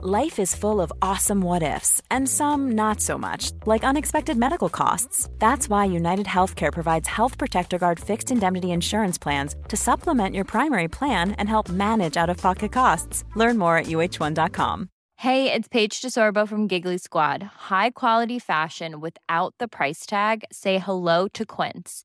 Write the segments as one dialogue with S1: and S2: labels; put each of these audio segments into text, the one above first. S1: Life is full of awesome what ifs, and some not so much, like unexpected medical costs. That's why United Healthcare provides Health Protector Guard fixed indemnity insurance plans to supplement your primary plan and help manage out of pocket costs. Learn more at uh1.com.
S2: Hey, it's Paige DeSorbo from Giggly Squad. High quality fashion without the price tag? Say hello to Quince.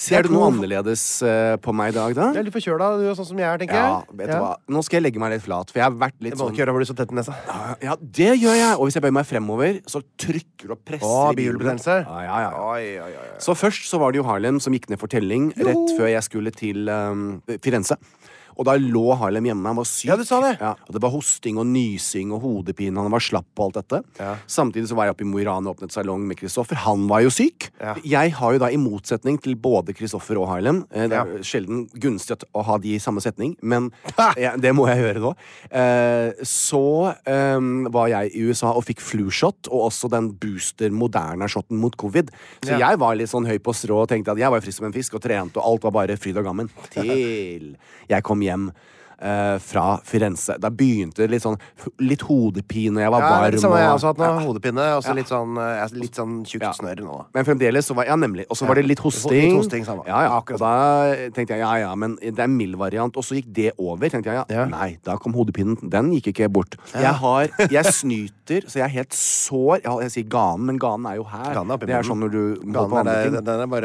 S3: Ser
S4: Jeg
S3: du noe
S4: tror-
S3: annerledes eh, på meg i dag,
S4: Du
S3: da?
S4: er litt forkjøla, du, sånn som jeg er, tenker
S3: Ja,
S4: jeg.
S3: vet du hva. Nå skal jeg legge meg litt flat, for jeg har vært litt
S4: Jeg må
S3: sånn
S4: ikke gjøre det, for du er så tett i nesa.
S3: Ja, det gjør jeg. Og hvis jeg bøyer meg fremover, så trykker og presser
S4: Å,
S3: i bilen.
S4: bihulebetennelse.
S3: Ja, ja, ja.
S4: Oi, oi, oi.
S3: Så først så var det jo Harlem som gikk ned for telling rett før jeg skulle til ehm, Firenze. Og da lå Harlem hjemme. Han var syk.
S4: Ja, du sa det.
S3: Ja, og det var hosting og nysing og hodepine. Han var slapp og alt dette. Samtidig så var jeg oppe i Mo i Rana og åpnet salong med Kristoffer. Han var jo syk. Jeg har jo da, i motsetning til både Kristoffer og Harlem eh, Det er sjelden gunstig at- å ha de i samme setning, men jeg, det må jeg gjøre nå. Eh, så ehm, var jeg i USA og fikk flushot, og også den booster Moderna-shoten mot covid. Så jeg var litt sånn høy på strå og tenkte at jeg var frisk som en fisk og trente, og alt var bare fryd og gammen. Til jeg kom hjem. eh, fra Firenze. Da begynte det litt sånn litt hodepine, jeg var
S4: Ja, det er
S3: varm
S4: det samme. Jeg har
S3: og-
S4: også hatt noe
S3: Ja.
S4: hodepine og så litt sånn, eh, jeg er litt sånn tjukt
S3: Ja.
S4: snørr nå. da.
S3: Men fremdeles så var Ja, nemlig. Og så var det litt hosting.
S4: Litt hosting, samme.
S3: ja, ja.
S4: Akkurat
S3: Og da tenkte jeg ja, ja, men det er mild variant. Og så gikk det over. tenkte jeg, ja,
S4: Ja.
S3: Nei, da kom hodepinen. Den gikk ikke bort. Jeg har, jeg snyter, så jeg er helt sår. Jeg, jeg sier ganen, men ganen er jo her.
S4: Ganen er oppi
S3: det er
S4: munnen.
S3: sånn når du må på
S4: Ganen
S3: andre
S4: er det,
S3: ting.
S4: den- den er bare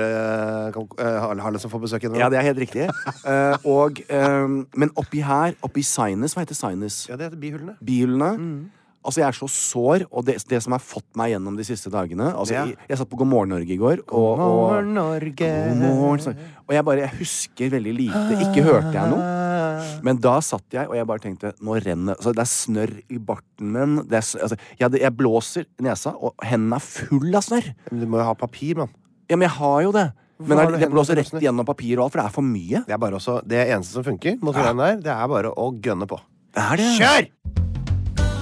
S4: eh, kan- eh, Harle- Harle som får besøk i den.
S3: Ja, det er helt riktig. Eh, og, eh, men oppi her, oppi sinus Hva heter sinus?
S4: Ja, det heter bihullene.
S3: bilene.
S4: Mm.
S3: Altså, jeg er så sår, og det, det som har fått meg gjennom de siste dagene altså,
S4: Ja.
S3: jeg, jeg satt på God morgen Norge i går, og, og
S4: morgen, Norge.
S3: God morgen, sa- og jeg bare jeg husker veldig lite. Ikke hørte jeg noe. Men da satt jeg, og jeg bare tenkte Nå renner altså, Det er snørr i barten min. Det er, s- altså, jeg, hadde- jeg blåser i nesa, og hendene er full av snørr.
S4: Men Du må jo ha papir, mann.
S3: Ja, men jeg har jo det. Men
S4: har
S3: er,
S4: du
S3: det
S4: hendene
S3: blåser
S4: full av
S3: rett
S4: snørr?
S3: gjennom papir og alt, for det er for mye.
S4: Det er bare også, det eneste som funker mot den der, det er bare å gønne på.
S3: Er det?
S4: Kjør!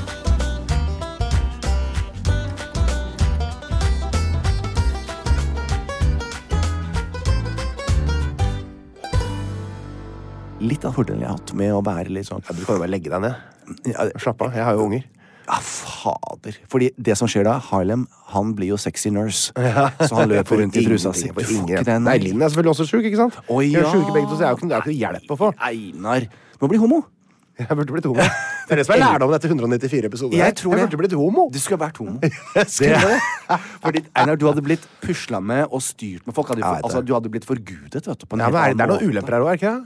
S3: Litt av fordelen jeg har hatt med å være litt sånn
S4: Ja, du kan jo bare legge deg ned.
S3: ja,
S4: Slapp av, jeg har jo unger.
S3: Ja, fader. Fordi det som skjer da, Harlem han blir jo sexy nurse. Så han løper rundt i trusa si.
S4: Jeg får
S3: Du får
S4: ingenting.
S3: ikke den.
S4: Nei, Linn er selvfølgelig også sjuk, ikke sant?
S3: Å,
S4: Vi er
S3: ja.
S4: sjuke begge to, så det er jo ikke, det er jo ikke noe hjelp å få.
S3: Einar. Du må bli homo.
S4: Jeg burde blitt homo. Det er det som er lærdommen etter 194 episoder.
S3: Jeg tror
S4: jeg
S3: det.
S4: burde blitt homo.
S3: Du skulle ha vært homo.
S4: skulle det.
S3: Fordi Einar, du hadde blitt pusla med og styrt med folk. Hadde,
S4: Jeg vet
S3: altså,
S4: det.
S3: du hadde blitt forgudet, vet du. På en
S4: Ja, men
S3: helt
S4: er, det- det er
S3: annen
S4: noen
S3: måte.
S4: ulemper her òg, er det ikke det?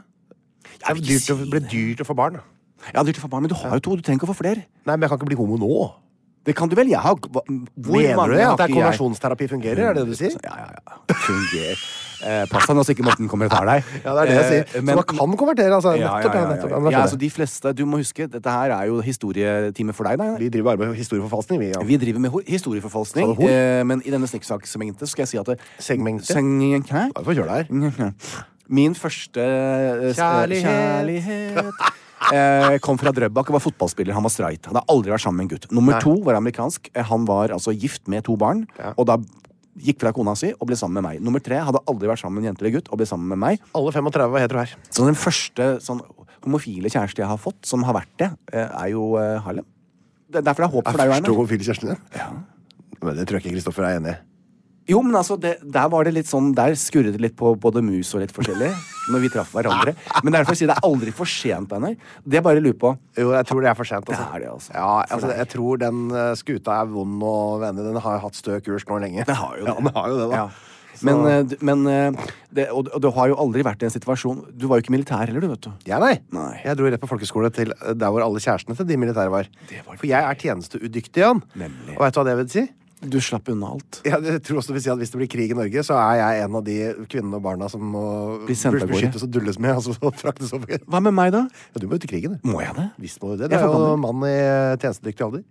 S4: Det
S3: Jeg
S4: er
S3: vil
S4: dyrt
S3: ikke
S4: å,
S3: si
S4: blir
S3: det.
S4: dyrt å få barn. da.
S3: Ja, dyrt for barn, men du har jo to. Du trenger ikke å få flere.
S4: Nei, men jeg kan ikke bli homo nå.
S3: Det kan du vel? Jeg har hva- Hvor
S4: Mener du det?
S3: har
S4: At det er
S3: ikke jeg?
S4: konversjonsterapi fungerer? Er det det du sier?
S3: Ja, ja, ja. Fungerer. Eh, pass deg nå så ikke Morten kommer og tar deg.
S4: Ja, det er det jeg
S3: Eh,
S4: sier. Så
S3: men-
S4: man kan konvertere, altså.
S3: Ja, ja,
S4: Nettopp.
S3: ja,
S4: ja,
S3: ja,
S4: nettopp.
S3: ja.
S4: Ja, men
S3: ja
S4: jeg
S3: altså,
S4: skjønner.
S3: de fleste, du må huske, dette her er jo historietime for deg. Nei,
S4: Vi driver bare med historieforfalskning, vi. Ja.
S3: Vi driver med ho- historieforfalskning,
S4: Sa du hor?
S3: eh, men i denne snikksaksegmentet skal jeg si at det,
S4: Segmentet?
S3: Seng- hæ?
S4: Ja, Du får kjøre deg.
S3: Min første eh, s-
S4: Kjærlighet.
S3: kjærlighet eh, kom fra Drøbak og var fotballspiller. Han var streit. Han hadde aldri vært sammen med en gutt. Nummer to var amerikansk. Eh, Han var altså gift med to barn. Og da gikk fra kona si og ble sammen med meg. Nummer tre hadde aldri vært sammen med en jente eller gutt og ble sammen med meg.
S4: Alle 35 var hetero her.
S3: Så den første sånn, homofile kjæreste jeg har fått, som har vært det, eh, er jo eh, Harlem. Det er derfor det er håp for deg,
S4: Forstår
S3: Einar.
S4: homofil kjæresten din? Men det tror jeg ikke Kristoffer er enig i.
S3: Jo, men altså, det, der var det litt sånn Der skurret det litt på både mus og litt forskjellig når vi traff hverandre. Men derfor sier jeg det er aldri for sent, Einar. Det jeg bare lurer på
S4: Jo, jeg tror det er for sent. Altså.
S3: Det er det, altså.
S4: Ja, altså jeg tror den eh, skuta er vond å vende. Den har jo hatt stø kurs nå lenge.
S3: Den har jo det.
S4: Ja, den har jo det da.
S3: Ja. Men, eh, du- men eh, det, og, og du har jo aldri vært i en situasjon Du var jo ikke militær heller, du, vet du.
S4: Jeg, nei.
S3: Nei.
S4: Jeg dro rett på folkeskole til eh, der hvor alle kjærestene til de militære var.
S3: Det var
S4: For jeg er tjenesteudyktig, Jan.
S3: Nemlig.
S4: Og vet du hva det vil si?
S3: Du slapp unna alt.
S4: Jeg tror også det vil si at Hvis det blir krig i Norge, så er jeg en av de kvinnene og barna som må
S3: Blir sendt av gårde.
S4: beskyttes og dulles med. Altså, og fraktes over. Ja,
S3: Hva med meg, da?
S4: du må ut i krigen. du.
S3: Må jeg det?
S4: Visst må du det. Du
S3: Jeg
S4: er
S3: er for
S4: jo
S3: gammel.
S4: mann i tjenestedyktig alder.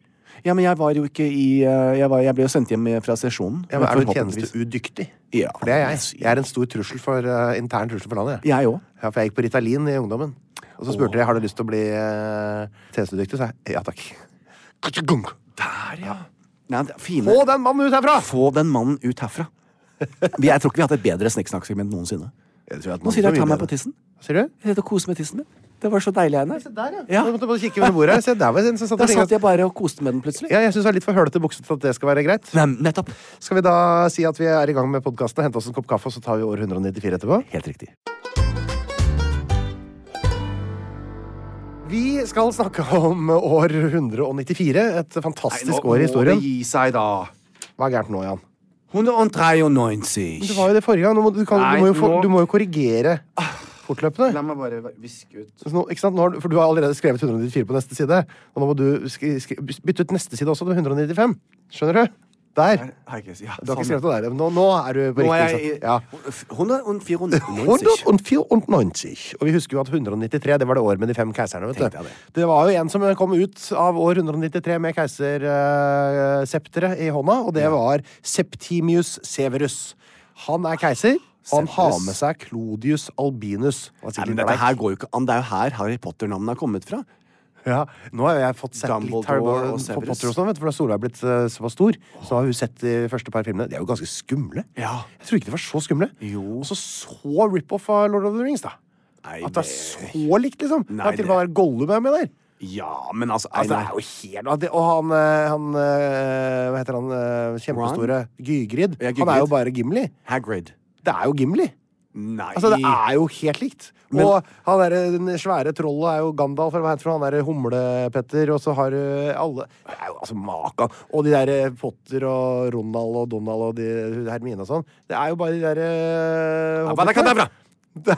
S3: Ja, men jeg var jo ikke i eh, Jeg, var, jeg ble jo sendt hjem eh, fra sesjonen.
S4: Ja, men er du
S3: Forhåpentligvis.
S4: tjenesteudyktig?
S3: Ja.
S4: For det er jeg. Jeg er en stor trussel for, eh, intern trussel for landet. jeg.
S3: Jeg òg.
S4: Ja, for jeg gikk på Ritalin i ungdommen. Og så spurte de har du lyst til å bli eh, tjenestedyktig. Så jeg ja takk.
S3: Der, ja. Nei, det er fine.
S4: Få den mannen ut herfra!
S3: Få den mannen ut herfra. Vi, jeg tror ikke vi har hatt et bedre snikksnakksegment noensinne.
S4: Jeg tror at
S3: Nå
S4: noen
S3: sier jeg
S4: som
S3: ta
S4: vil
S3: meg
S4: det.
S3: på tissen.
S4: Sier du?
S3: Jeg sitter og koser med tissen min. Det var så deilig, Einar.
S4: Se der, ja.
S3: Ja.
S4: Du måtte bare kikke under bordet. her. Se, der var en som satt
S3: Da
S4: og ringet.
S3: satt jeg bare og koste med den plutselig.
S4: Ja, jeg syns det er litt for hølete bukse til at det skal være greit.
S3: Nei, nettopp.
S4: Skal vi da si at vi er i gang med podkasten, hente oss en kopp kaffe, og så tar vi år 194 etterpå?
S3: Helt riktig.
S4: Vi skal snakke om år 194. Et fantastisk år i historien.
S3: gi seg, da.
S4: Hva er gærent nå, Jan?
S3: 193.
S4: Du var jo det forrige gang. Du må, du kan,
S3: Nei,
S4: du må, jo, for,
S3: nå- Ah.
S4: du må jo korrigere fortløpende.
S3: La meg bare viske ut.
S4: Så nå, ikke sant? Nå har, du- for du har allerede skrevet 194 på neste side. Og nå må du skri, skri, bytte ut neste side også, til 195. Skjønner du? Der. Du har ikke skrevet det der. Nå, nå er du på
S3: Nå er jeg
S4: riktig.
S3: i
S4: sant? Ja.
S3: 194.
S4: 194. Og vi husker jo at 193 det var det året med de fem keiserne. vet
S3: Tenkte
S4: du.
S3: jeg
S4: Det. var jo en som kom ut av år 193 med keisersepteret i hånda, og det var Septimius Severus. Han er keiser, og han
S3: Severus.
S4: har med seg Clodius Albinus. Han var
S3: Nei, men
S4: sikkert litt
S3: dette
S4: bleik.
S3: her går jo ikke an. Det er jo her Harry Potter-navnet er kommet fra.
S4: Ja, nå har jeg fått sett litt Harry
S3: Dumbledore og
S4: Potter-
S3: Severus.
S4: Potter og sånn, vet du, for da Solveig er blitt eh, såpass stor, så har hun sett de første par filmene. De er jo ganske skumle.
S3: Ja.
S4: Jeg tror ikke de var så skumle.
S3: Jo.
S4: Og så så rip-off av Lord of the Rings, da.
S3: Nei,
S4: At det er
S3: det-
S4: så likt, liksom.
S3: Nei,
S4: det er til og med Gollum er med der.
S3: Ja, men altså,
S4: Altså, det er jo helt og det- Og han, eh, han eh, Hva heter han eh, kjempestore? Gygrid.
S3: Ja,
S4: Han er jo
S3: Gygrid.
S4: bare Gimli.
S3: Hagrid.
S4: Det er jo Gimli.
S3: Nei
S4: Altså, det er jo helt likt. og han der, den svære trollet er jo Gandalf, eller hva heter han, han derre Humle-Petter, og så har du alle Det er jo altså maka. Og de der eh, Potter og Ronald og Donald og de, Hermine og sånn. Det er jo bare de derre eh,
S3: Abadakadabra!
S4: Det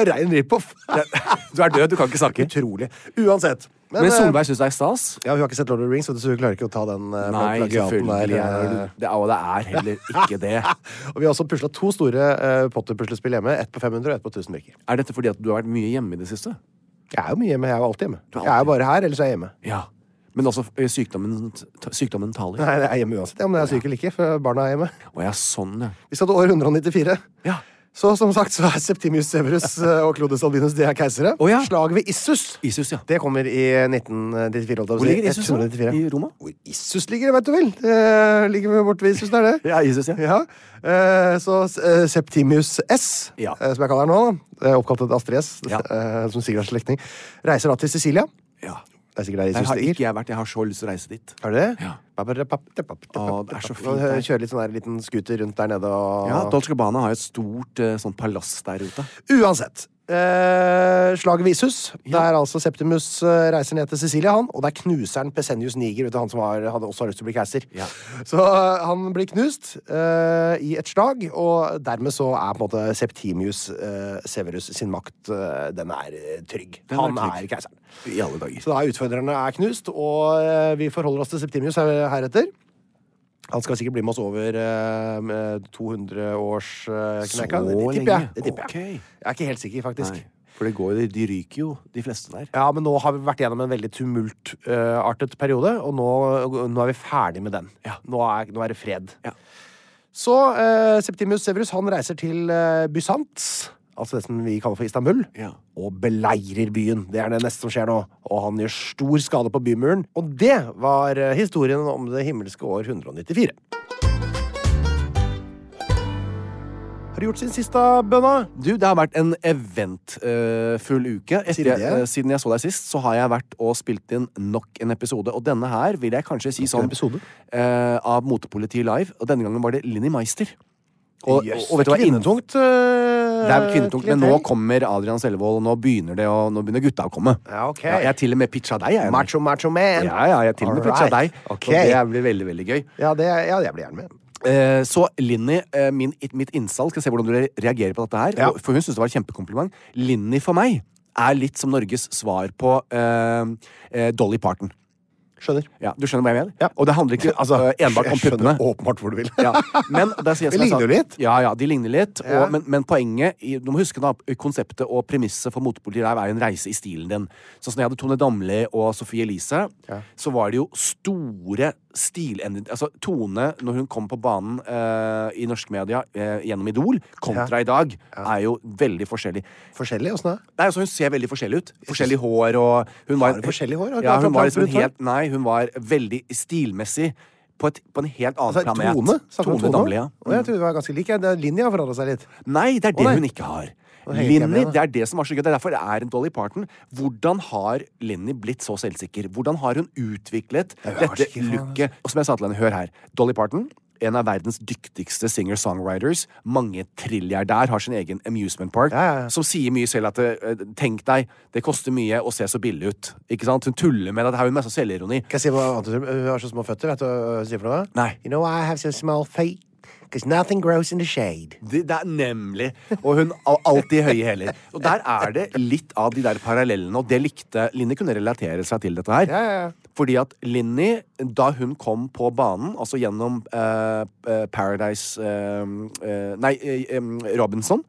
S4: er rein rip-off.
S3: Du er død, du kan ikke snakke.
S4: Utrolig. Uansett.
S3: Men
S4: eh,
S3: Solveig syns det er stas.
S4: ja, Hun har ikke sett Lord of the Rings, vet du, så hun klarer ikke å ta den eh,
S3: Nei,
S4: plagiaten
S3: selvfølgelig.
S4: eh.
S3: er det- Det er, og det er heller ikke det.
S4: Og vi har også pusla to store eh, Potter-puslespill hjemme. Ett på 500 og ett på 1000 brikker.
S3: Er dette fordi at du har vært mye hjemme i det siste?
S4: Jeg er jo mye hjemme. Jeg er jo alltid hjemme.
S3: er alltid
S4: Jeg er jo bare her, eller så er jeg hjemme.
S3: Ja. Men altså ø, sykdommen, t- sykdommen taler.
S4: Nei, jeg er hjemme uansett, ja, om jeg er syk eller ikke, for barna er hjemme.
S3: Å ja, sånn, ja.
S4: Vi skal til år 194.
S3: Ja.
S4: Så som sagt så er Septimius Severus eh, og Clodus Albinus de er keisere.
S3: Å, ja.
S4: Slaget ved Issus.
S3: Isus, ja.
S4: Det kommer i 1994. holdt jeg på å
S3: Hvor
S4: si.
S3: ligger Isus? da?
S4: 194.
S3: I Roma?
S4: Hvor Issus ligger, vet du vel. Eh, ligger borte ved Issus, det er det.
S3: Ja, Isus, ja.
S4: Ja. eh, Så eh, Septimius S,
S3: Ja.
S4: eh, som jeg kaller han nå, da, eh, oppkalt etter Astrid S,
S3: Ja.
S4: eh, som Sigvards slektning, reiser da til Sicilia.
S3: ja.
S4: Det er sikkert der
S3: Der
S4: Jesus
S3: har ikke
S4: ligger.
S3: jeg vært. Jeg har så lyst til å reise dit.
S4: Har du det?
S3: Ja.
S4: Å,
S3: Å, det er så fint der.
S4: Kjører litt sånn der liten scooter rundt der nede og
S3: Ja, Dolce Gabbana har jo et stort eh, sånn palass der ute.
S4: Uansett. Eh, slaget ved Issus. Der altså Septimus eh, reiser ned til Sicilia, han. Og der knuser han Pesenius Niger, vet du, han som har, hadde også har lyst til å bli keiser.
S3: Ja.
S4: Så eh, han blir knust eh, i et slag, og dermed så er på en måte Septimius eh, Severus sin makt eh, Den er eh, trygg.
S3: Den er
S4: han
S3: trygg.
S4: er keiseren.
S3: I alle dager.
S4: Så da er utfordrerne er knust, og eh, vi forholder oss til Septimius her- heretter. Han skal sikkert bli med oss over eh, med 200 års eh, knekka. Det
S3: Så
S4: tipper jeg.
S3: lenge?
S4: Det tipper jeg.
S3: Ok.
S4: jeg er ikke helt sikker, faktisk.
S3: Nei. For det går jo, de ryker jo, de fleste der.
S4: Ja, men nå har vi vært gjennom en veldig tumultartet periode, og nå, nå er vi ferdig med den.
S3: Ja.
S4: Nå, er, nå er det fred.
S3: Ja.
S4: Så eh, Septimius Severus han reiser til eh, Bysant, altså det som vi kaller for Istanbul,
S3: Ja.
S4: og beleirer byen. Det er det neste som skjer nå. Og han gjør stor skade på bymuren. Og det var eh, historien om det himmelske år 194. Har du gjort sin siste bønna?
S3: Du, det har vært en eventfull uke. Etter,
S4: Sier du det?
S3: eh, siden jeg så deg sist, så har jeg vært og spilt inn nok en episode. Og denne her vil jeg kanskje si
S4: en
S3: sånn
S4: episode?
S3: eh, av Motepolitiet Live. Og denne gangen var det Linni Meister. Og,
S4: Jøss,
S3: og vet du
S4: det
S3: hva?
S4: er kvinnetungt. øh,
S3: Det er kvinnetungt, men nå
S4: klientell.
S3: kommer Adrian Selvold, og nå begynner, det å, nå begynner gutta å komme.
S4: Ja, ok.
S3: ja, jeg til og med pitcha deg. Jeg,
S4: Macho, macho man.
S3: Ja, ja, jeg til og med pitcha
S4: Alright.
S3: deg.
S4: Ok.
S3: Og det blir veldig, veldig gøy.
S4: Ja, det, ja, jeg blir gjerne med.
S3: Eh, så Linni, eh, min, mitt innsalg, skal se hvordan du re- reagerer på dette her.
S4: Ja.
S3: Og- For hun syns det var et kjempekompliment. Linni for meg er litt som Norges svar på eh, eh, Dolly Parton.
S4: Skjønner.
S3: Ja, du skjønner hva jeg mener? Og det handler ikke
S4: Altså,
S3: eh, enbart om
S4: jeg skjønner
S3: puppene.
S4: åpenbart hvor du vil.
S3: Ja, men der sier jeg
S4: De
S3: som jeg sa-
S4: ligner jo litt.
S3: Ja, ja, de ligner litt.
S4: Ja.
S3: Og, men, men poenget i- Du må huske da, konseptet og premisset for motepolitiet der er jo en reise i stilen din. Sånn som når jeg hadde Tone Damli og Sophie Elise, så var det jo store stilendringer Altså Tone, når hun kom på banen eh, i norske media eh, gjennom Idol, kontra i dag, er jo veldig forskjellig.
S4: Forskjellig, åssen da?
S3: Nei, altså Hun ser veldig forskjellig ut. Forskjellig hår og hun var,
S4: Har hun forskjellig hår? Har
S3: Ja,
S4: hun
S3: hun var liksom en
S4: brunt hår?
S3: helt, nei, hun var veldig stilmessig på, et, på en helt annen
S4: Altså,
S3: planet.
S4: Tone? Snakker du om
S3: Tone Damli, ja.
S4: Å, jeg trodde det var ganske lik. jeg. Det er- Linja har forandra seg litt.
S3: Nei, det er det
S4: nei.
S3: hun ikke har.
S4: henger ikke jeg
S3: Linni,
S4: med,
S3: det er det som var så gøy. Det er derfor det er en Dolly Parton. Hvordan har Linni blitt så selvsikker? Hvordan har hun utviklet
S4: hun har
S3: dette
S4: ikke faen,
S3: looket? Og som jeg sa til henne, hør her. Dolly Parton, en av verdens dyktigste singer-songwriters. Mange trillier der har sin egen amusement park.
S4: Ja, ja, ja.
S3: Som sier mye selv at eh, tenk deg, det koster mye å se så billig ut. Ikke sant? Hun tuller med det. Her har hun masse selvironi.
S4: Kan jeg si hva annet hun hun har så små føtter? Vet du hva hun sier for noe?
S3: Nei.
S4: You know I have so small feet Because nothing grows in the shade.
S3: Det, det er nemlig. Og hun har alltid høye hæler. Og der er det litt av de der parallellene, og det likte Linni kunne relatere seg til dette her.
S4: Ja, ja, ja.
S3: Fordi at Linni, da hun kom på banen, altså gjennom eh, eh, Paradise eh, eh, Nei, eh, em, Robinson,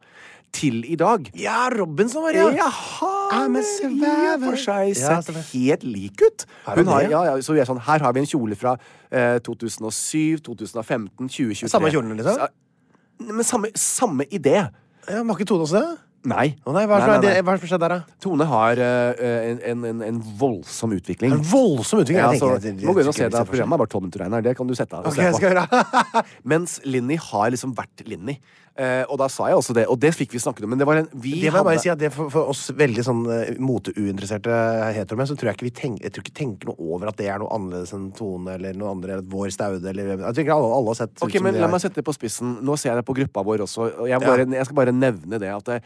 S3: til i dag
S4: Ja, Robinson var
S3: Jaha!
S4: I'm a
S3: men i og
S4: survivor.
S3: for seg
S4: Ja, altså,
S3: sett
S4: survivor.
S3: helt lik ut.
S4: Er hun
S3: Hun har,
S4: det?
S3: ja, ja, så vi er sånn, her har vi en kjole fra eh, 2007, 2015, 2023
S4: Samme kjolen, liksom?
S3: Sa- Men samme, samme idé.
S4: Ja, Var ikke Tone også det?
S3: Nei.
S4: Å nei, Hva er
S3: Nei,
S4: det
S3: nei, nei.
S4: hva er det som skjedde der, da?
S3: Tone har eh, en, en, en, en voldsom utvikling.
S4: En voldsom utvikling.
S3: Ja,
S4: jeg
S3: altså,
S4: tenker at det-
S3: du må gå inn og se
S4: det-
S3: det. Programmet er bare tolv minutter, Einar. Det kan du sette av. og
S4: Ok,
S3: se
S4: jeg
S3: på.
S4: skal gjøre
S3: Mens Linni har liksom vært Linni. Eh, og da sa jeg også det. Og det fikk vi snakket om. Men det var en vi
S4: Det må jeg
S3: hadde-
S4: bare si at det for, for oss veldig sånn eh, moteuinteresserte heteromenn, så tror jeg ikke vi tenker, jeg tror ikke tenker noe over at det er noe annerledes enn Tone eller noe andre, eller Vår Staude eller Jeg tenker alle, alle har sett ut
S3: Ok,
S4: som
S3: men
S4: de
S3: La
S4: er.
S3: meg sette det på spissen. Nå ser jeg det på gruppa vår også. Og jeg, bare, jeg skal bare nevne det at eh,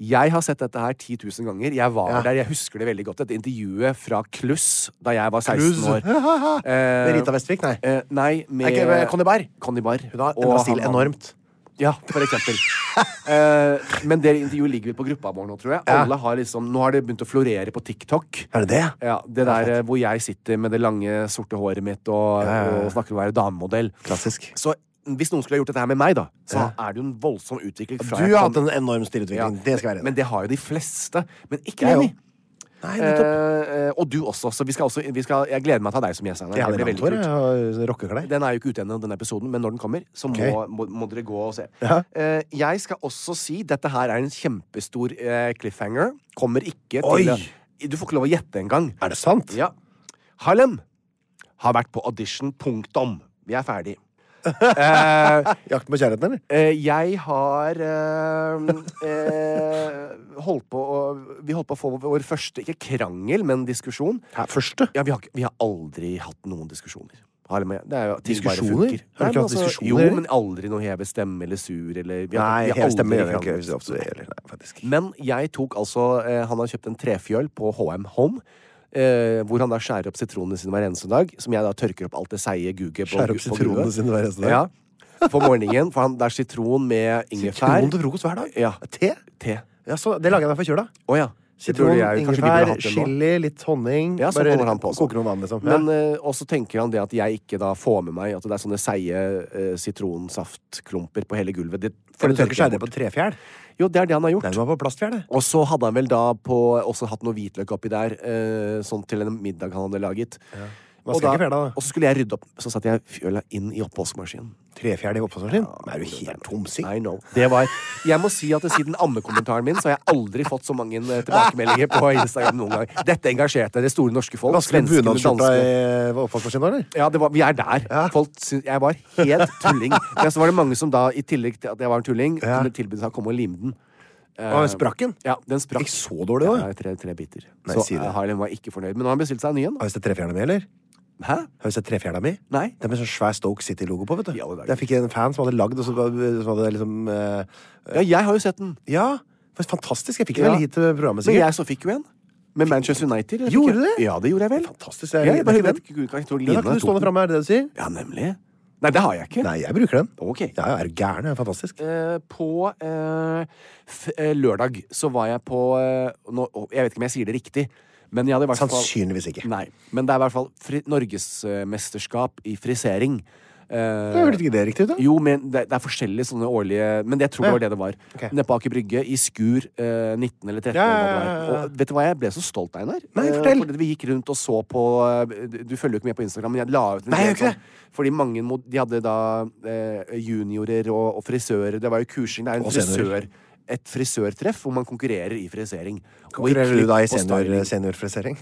S3: jeg har sett dette her 10 000 ganger. Jeg var
S4: Ja.
S3: der, jeg husker det veldig godt. Dette intervjuet fra Kluss da jeg var 16
S4: Kluss?
S3: år. Eh,
S4: Med Rita Westvik, nei.
S3: Eh, nei, med
S4: Nei, ikke, med Conny Barr.
S3: Conny Barr.
S4: Hun har
S3: Og
S4: endra stil
S3: han-
S4: enormt.
S3: Ja, for eksempel. eh, men det intervjuet ligger vel på gruppa vår nå, tror jeg. Alle har liksom, nå har det begynt å florere på TikTok.
S4: Er det det?
S3: Ja, Det der eh, hvor jeg sitter med det lange, sorte håret mitt og, og snakker om å være damemodell.
S4: Klassisk.
S3: Så hvis noen skulle ha gjort dette her med meg, da, så er det jo en voldsom utvikling.
S4: Du
S3: Fra jeg
S4: har hatt
S3: kom-
S4: en enorm stilutvikling.
S3: Ja,
S4: Det skal være det.
S3: Men det har jo de fleste. Men ikke
S4: Jeg
S3: Lenny.
S4: òg. Nei, nettopp.
S3: Eh, og du også. Så vi skal også vi skal, jeg gleder meg til å ha deg som gjest. Einar.
S4: Jeg
S3: Det
S4: hadde
S3: blir
S4: langt
S3: veldig
S4: hår
S3: kult.
S4: jeg, eh, og rockeklær.
S3: Den er jo ikke ute ennå, den episoden, men når den kommer, så må,
S4: Ok.
S3: må, må dere gå og se.
S4: Ja.
S3: Eh, jeg skal også si dette her er en kjempestor eh, cliffhanger. Kommer ikke
S4: Oi!
S3: til Du får ikke lov å gjette engang.
S4: Er det sant?
S3: Ja. Harlem har vært på audition. Punktum. Vi er ferdig. Eh,
S4: Jakten på kjærligheten, eller?
S3: eh, jeg har eh, eh, holdt på å Vi holdt på å få vår første, ikke krangel, men diskusjon.
S4: Her, første?
S3: Ja, vi har, ikke- vi har aldri hatt noen diskusjoner. Har det med, det er jo, ting bare
S4: Diskusjoner?
S3: funker.
S4: Har
S3: Nei,
S4: du ikke
S3: men
S4: hatt diskusjoner?
S3: Jo, men aldri noe heve stemme eller sur eller vi har, vi har aldri kranglet. Men jeg tok altså eh, Han har kjøpt en trefjøl på HM Home. Eh, hvor han da skjærer opp sitronene sine hver eneste dag. Som jeg da tørker opp alt det seige guget på.
S4: Skjærer opp
S3: på
S4: sitronene
S3: guet.
S4: sine hver eneste dag?
S3: Ja. På morgenen. For han, det er sitron med ingefær.
S4: Sitron til frokost hver dag?
S3: Ja.
S4: Te?
S3: Te.
S4: Ja, så, det lager jeg meg for kjøla.
S3: Å ja. Jeg tror
S4: Sitron,
S3: det er- kanskje du burde
S4: ingefær,
S3: hatt det nå.
S4: chili, litt honning.
S3: Ja, så
S4: Bare
S3: holder han på sånn.
S4: koker noen vann, liksom.
S3: Men,
S4: ja.
S3: eh, og så tenker han det at jeg ikke da får med meg at det er sånne seige eh, sitronsaftklumper på hele gulvet. Det,
S4: For du tør ikke skjære det
S3: bort.
S4: på trefjæl?
S3: Jo, det er det han har gjort.
S4: Nei, det var på plastfjær, det.
S3: Og så hadde han vel da på, også hatt noe hvitløk oppi der, eh, sånn til en middag han hadde laget.
S4: Man
S3: Og,
S4: skal
S3: da,
S4: ikke fjerde, da.
S3: og så skulle jeg rydde opp. Så satte jeg fjøla inn i oppvaskmaskinen.
S4: Trefjær i oppvaskmaskinen? Men Er du helt tomsing?
S3: I know. Det var Jeg må si at siden ammekommentaren min, så har jeg aldri fått så mange eh, tilbakemeldinger på Instagram noen gang. Dette engasjerte det store norske folk.
S4: Vasker du
S3: svenskene,
S4: bunadsskjorta
S3: danskene.
S4: i oppvaskmaskinen, da, eller?
S3: Ja, det var, vi er der. Folk syns jeg var helt tulling. Men så var det mange som da, i tillegg til at jeg var en tulling, kunne tilbudt seg å komme og lime den.
S4: Å, sprakk den?
S3: Eh, Ja, den sprakk.
S4: Ikke så dårlig, da.
S3: Ja, tre, tre biter.
S4: Nei,
S3: så
S4: si det.
S3: eh, Harlem var ikke fornøyd. Men nå har han bestilt seg en ny en.
S4: Har vi sett trefjærene med, eller?
S3: Hæ?
S4: Har du sett trefjela mi?
S3: Nei.
S4: Det er med sånn svær Stoke City-logo på, vet du.
S3: I alle dager.
S4: Jeg fikk en fan som hadde lagd, og så var- som hadde liksom eh,
S3: Ja, jeg har jo sett den.
S4: Ja, det var fantastisk. Jeg fikk
S3: Ja.
S4: den vel hit til programmet,
S3: Men
S4: sikkert.
S3: jeg så fikk jo en. Med Manchester United. eller fikk
S4: Gjorde du
S3: jeg-
S4: det?
S3: Ja, det gjorde jeg vel.
S4: Fantastisk.
S3: Ja,
S4: Jeg,
S3: jeg bare
S4: det er
S3: vet
S4: ikke
S3: ikke Gud, kan jeg ikke
S4: den. Den har ikke du stående framme, er det det du sier?
S3: Ja, nemlig. Nei, det har jeg ikke.
S4: Nei, jeg bruker den.
S3: Ok.
S4: Ja, jeg er du gæren? Det er fantastisk.
S3: Eh, på eh, f eh, lørdag så var jeg på eh, nå, å, Jeg vet ikke om jeg sier det riktig, men jeg hadde i hvert
S4: Sånn
S3: fall
S4: Sannsynligvis ikke.
S3: Nei. Men det er i hvert fall fri- norgesmesterskap i frisering. Eh,
S4: Jeg Hørtes ikke det riktig ut, da?
S3: jo, men det, det er forskjellige sånne årlige Men jeg tror det var det det var.
S4: Ok.
S3: Nede på Aker Brygge, i skur eh, 19 eller 13.
S4: Ja,
S3: eller hva
S4: ja,
S3: det
S4: ja,
S3: var.
S4: ja, ja.
S3: Og vet du hva, jeg ble så stolt, Einar.
S4: Nei,
S3: Eh,
S4: fortell.
S3: Fordi vi gikk rundt og så på eh, Du du følger jo ikke med på Instagram, men jeg la ut en
S4: Nei,
S3: del
S4: jeg gjør ikke
S3: sånn- Fordi mange mod- De hadde da eh, juniorer og, og frisører. Det var jo kursing. Det er en
S4: Og seniorer.
S3: frisør, et frisørtreff hvor man konkurrerer i frisering. Og i
S4: Konkurrerer du da i
S3: klipp og styling.
S4: senior, seniorfrisering?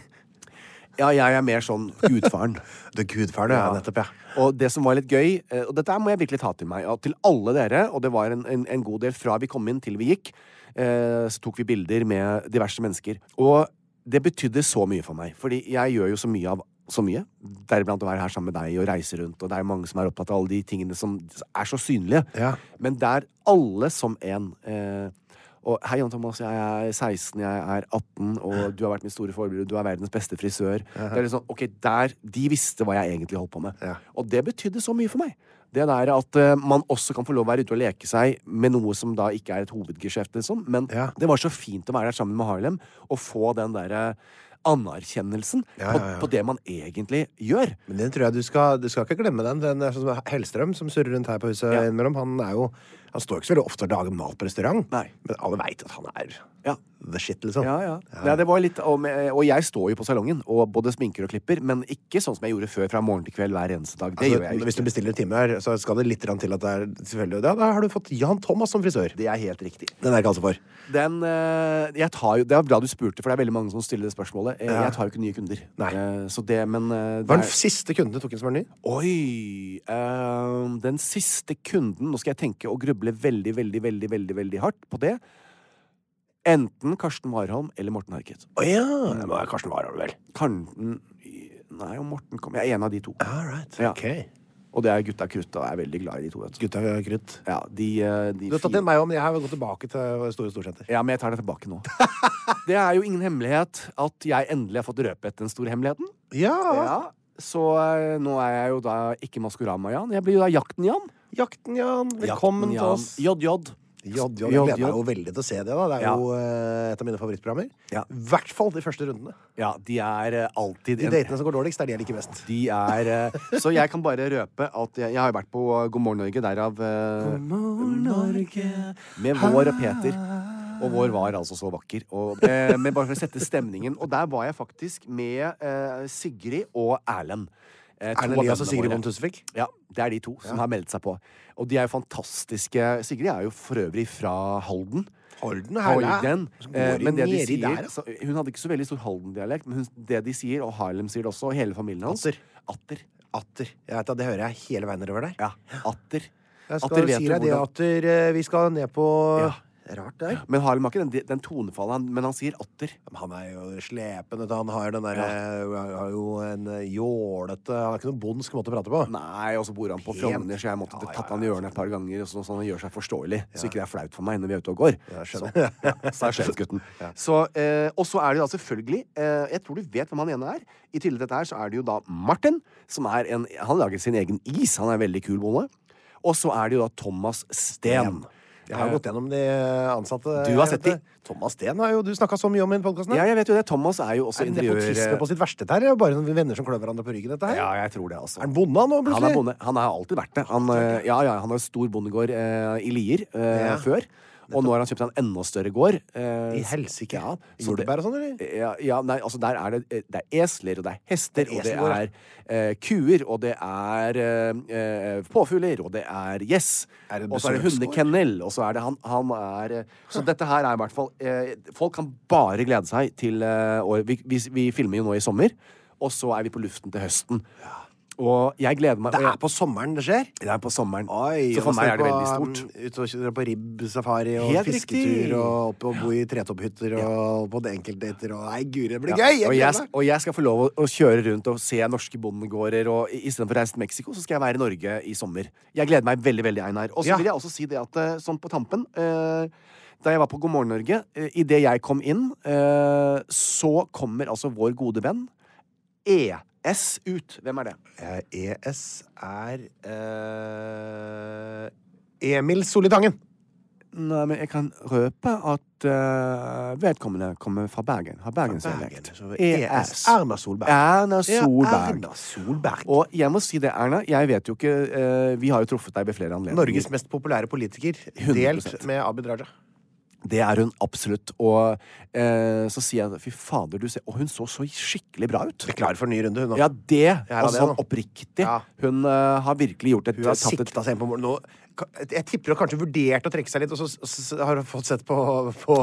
S3: Ja, jeg er mer sånn gudfaren.
S4: Du er gudfaren, ja. Nettopp, ja.
S3: Og det som var litt gøy, eh, og dette her må jeg virkelig ta til meg, og til alle dere, og det var en, en, en god del fra vi kom inn til vi gikk, eh, så tok vi bilder med diverse mennesker. Og det betydde så mye for meg, fordi jeg gjør jo så mye av så mye, deriblant å være her sammen med deg og reise rundt, og det er jo mange som er opptatt av alle de tingene som er så synlige.
S4: Ja.
S3: Men der alle som en eh, og Hei, Jan Thomas. Jeg er 16, jeg er 18, og du har vært min store forbilde. Du er verdens beste frisør. Det er litt sånn, ok, der, De visste hva jeg egentlig holdt på med.
S4: Ja.
S3: Og det betydde så mye for meg. Det der At eh, man også kan få lov å være ute og leke seg med noe som da ikke er et hovedgeskjeft, liksom. Men
S4: Ja.
S3: det var så fint å være der sammen med Harlem og få den derre anerkjennelsen
S4: Ja,
S3: på,
S4: ja, ja.
S3: på det man egentlig gjør.
S4: Men den tror jeg du skal, du skal ikke glemme den. Den er sånn som Hellstrøm som surrer rundt her på huset
S3: Ja.
S4: innimellom. Han er jo Han står ikke så veldig ofte og lager mat på restaurant,
S3: Nei.
S4: men alle veit at han er
S3: Ja.
S4: the shit, liksom.
S3: Ja, ja. Nei, det var litt, og, med- og jeg står jo på salongen og både sminker og klipper, men ikke sånn som jeg gjorde før fra morgen til kveld hver eneste dag. Det
S4: Altså,
S3: gjør jeg jo
S4: hvis du
S3: ikke.
S4: bestiller en time her, så skal det litt grann til at det er selvfølgelig, ja, Da har du fått Jan Thomas som frisør.
S3: Det er helt riktig.
S4: Den er ikke altså for.
S3: Den, eh, jeg tar jo, det er bra du spurte, for det er veldig mange som stiller det spørsmålet. Eh,
S4: Ja.
S3: Jeg tar jo ikke nye kunder.
S4: Nei.
S3: Eh, Så det, men eh, det
S4: Hva er
S3: er-
S4: den siste kunden du tok inn som var ny?
S3: Oi! eh, den siste kunden Nå skal jeg tenke og gruble veldig, veldig, veldig, veldig, veldig hardt på det. Enten Karsten Warholm eller Morten Harket.
S4: Å ja! Det må være Karsten Warholm, vel.
S3: Karsten Nei, og Morten kom Jeg er en av de to.
S4: All right.
S3: Ja.
S4: Ok.
S3: Og det er gutta krutt, og jeg er veldig glad i de to. Vet du.
S4: Gutta er krutt.
S3: Ja, de, eh, de
S4: Du har tatt
S3: fire-
S4: inn meg òg, men jeg har jo gått tilbake til Store Storsenter.
S3: Ja, men jeg tar det tilbake nå. det er jo ingen hemmelighet at jeg endelig har fått røpet den store hemmeligheten.
S4: Ja!
S3: Ja, Så eh, nå er jeg jo da ikke Maskorama-Jan. Jeg blir jo da Jakten-Jan.
S4: Jakten, Jan. Velkommen til oss.
S3: JJ.
S4: Jodd,
S3: Jodd,
S4: Jeg gleder meg
S3: Jodd.
S4: jo veldig til å se det. da Det er
S3: Ja.
S4: jo eh, et av mine favorittprogrammer.
S3: Ja.
S4: I hvert fall de første rundene.
S3: Ja, de er eh, alltid
S4: De
S3: en-
S4: datene som går dårligst, det er de jeg liker best.
S3: De er eh, Så jeg kan bare røpe at jeg, jeg har jo vært på eh, God morgen Norge, derav God morgen Norge Med vår og Peter. Og vår var altså så vakker. Og, eh, men bare for å sette stemningen. Og der var jeg faktisk med eh, Sigrid og Erlend. Eh, to av
S4: Erlend Elias og
S3: vennene
S4: Sigrid
S3: våre.
S4: Bonde Tusvik.
S3: Ja, det er de to som har meldt seg på. Og de er jo fantastiske. Sigrid er jo for øvrig fra Halden.
S4: Holden
S3: Halden. Eh,
S4: Går
S3: men det de
S4: nedi
S3: sier,
S4: der, altså.
S3: så, hun hadde ikke så veldig stor Halden-dialekt, men hun, det de sier, og Harlem sier det også, og hele familien hans
S4: Atter.
S3: Atter.
S4: Atter. Jeg vet, at det hører jeg hele veien nedover der.
S3: Ja, atter.
S4: Jeg
S3: Atter
S4: skal
S3: vet
S4: si
S3: jo
S4: deg det,
S3: hvordan-
S4: Atter. eh, Vi skal ned på
S3: Ja.
S4: Rart der.
S3: Men Harlem har ikke den, den tonefallet, han- men han sier atter.
S4: Men Han er jo slepen. vet du. Han har, den der, eh, har jo en eh, jålete Han har ikke noen bondsk måte å prate på.
S3: Nei, og så bor han på
S4: Pent.
S3: Frogner, så jeg måtte
S4: Ja, ja,
S3: tatt han i
S4: ja,
S3: ørene et par ganger, og sånn, så han gjør seg forståelig, så ikke det er flaut for meg når vi er ute og går.
S4: Jeg
S3: Så,
S4: skjønner.
S3: ja, så er sjefsgutten. Så, eh, og så er det da selvfølgelig eh, Jeg tror du vet hvem han ene er. I tillegg til dette her så er det jo da Martin, som er en Han lager sin egen is. Han er en veldig kul bonde. Og så er det jo da Thomas Steen.
S4: Jeg har jo gått gjennom de eh, ansatte.
S3: Eh. Du har sett de.
S4: Thomas Steen har jo du snakka så mye om i podkasten.
S3: Eh, Ja, jeg vet jo det. Thomas er jo også
S4: Er det
S3: interiør...
S4: nepotisme på sitt verste dette her? Det er jo bare noen venner som klør hverandre på ryggen, dette her?
S3: Ja, jeg tror det, altså.
S4: Er han bonde han nå,
S3: Han
S4: plutselig?
S3: er bonde. Han har alltid vært det. Han, eh, ja, ja, han har stor bondegård eh, i Lier eh,
S4: Ja.
S3: før. Og nå har han kjøpt seg en enda større gård. eh,
S4: I helsike.
S3: Ja, så det-
S4: Jordbær og sånn, eller?
S3: Ja, ja, nei, altså der er det, eh, det er esler, og det er hester,
S4: Det er
S3: og det
S4: esler,
S3: er eh, kuer, og det er eh, eh, påfugler, og det er gjess.
S4: Er det
S3: Og så er det
S4: besøksgård?
S3: hundekennel, og så er det han, han er eh, Så dette her er i hvert fall eh, Folk kan bare glede seg til eh, år. Vi, vi, vi filmer jo nå i sommer, og så er vi på luften til høsten. Og jeg gleder meg.
S4: Det er på sommeren det skjer?
S3: det er på sommeren.
S4: Oi,
S3: så for meg er det veldig
S4: um,
S3: stort.
S4: Ute og kjøre på ribb-safari og
S3: Helt
S4: fisketur
S3: riktig.
S4: og opp og bo i tretopphytter og på enkeltdater og Nei, guri, det blir
S3: Ja,
S4: gøy!
S3: og,
S4: Jeg
S3: jeg,
S4: gleder meg!
S3: og jeg skal få lov å, å kjøre rundt og se norske bondegårder. Og i- Istedenfor å reise til Mexico, så skal jeg være i Norge i sommer. Jeg gleder meg veldig, veldig, Einar. Og så
S4: Ja.
S3: vil jeg også si det at eh, sånn på tampen eh, Da jeg var på God morgen Norge, eh, idet jeg kom inn, eh, så kommer altså vår gode venn ES ut. Hvem er det?
S4: Eh, ES er eh, Emil Solitangen.
S3: Nei, men jeg kan røpe at eh, vedkommende kommer fra Bergen. Har E bergensdialekt.
S4: Bergen, så ES. E Erna Solberg.
S3: Erna
S4: Ja,
S3: Solberg.
S4: Erna Solberg.
S3: Og jeg må si det, Erna. Jeg vet jo ikke eh, Vi har jo truffet deg ved flere anledninger.
S4: Norges mest populære politiker, delt
S3: 100%.
S4: med Abid Raja.
S3: Det er hun absolutt. Og eh, så sier jeg fy fader, du ser Og hun så så skikkelig bra ut.
S4: Er Klar for en ny runde, hun nå.
S3: Ja, det.
S4: er
S3: Altså
S4: det nå.
S3: sånn oppriktig.
S4: Ja.
S3: Hun eh, har virkelig gjort et
S4: Hun har
S3: tatt et-
S4: sikta seg inn på mål. Nå, ka- jeg tipper hun kanskje vurderte å trekke seg litt, og så s- s- har hun fått sett på, på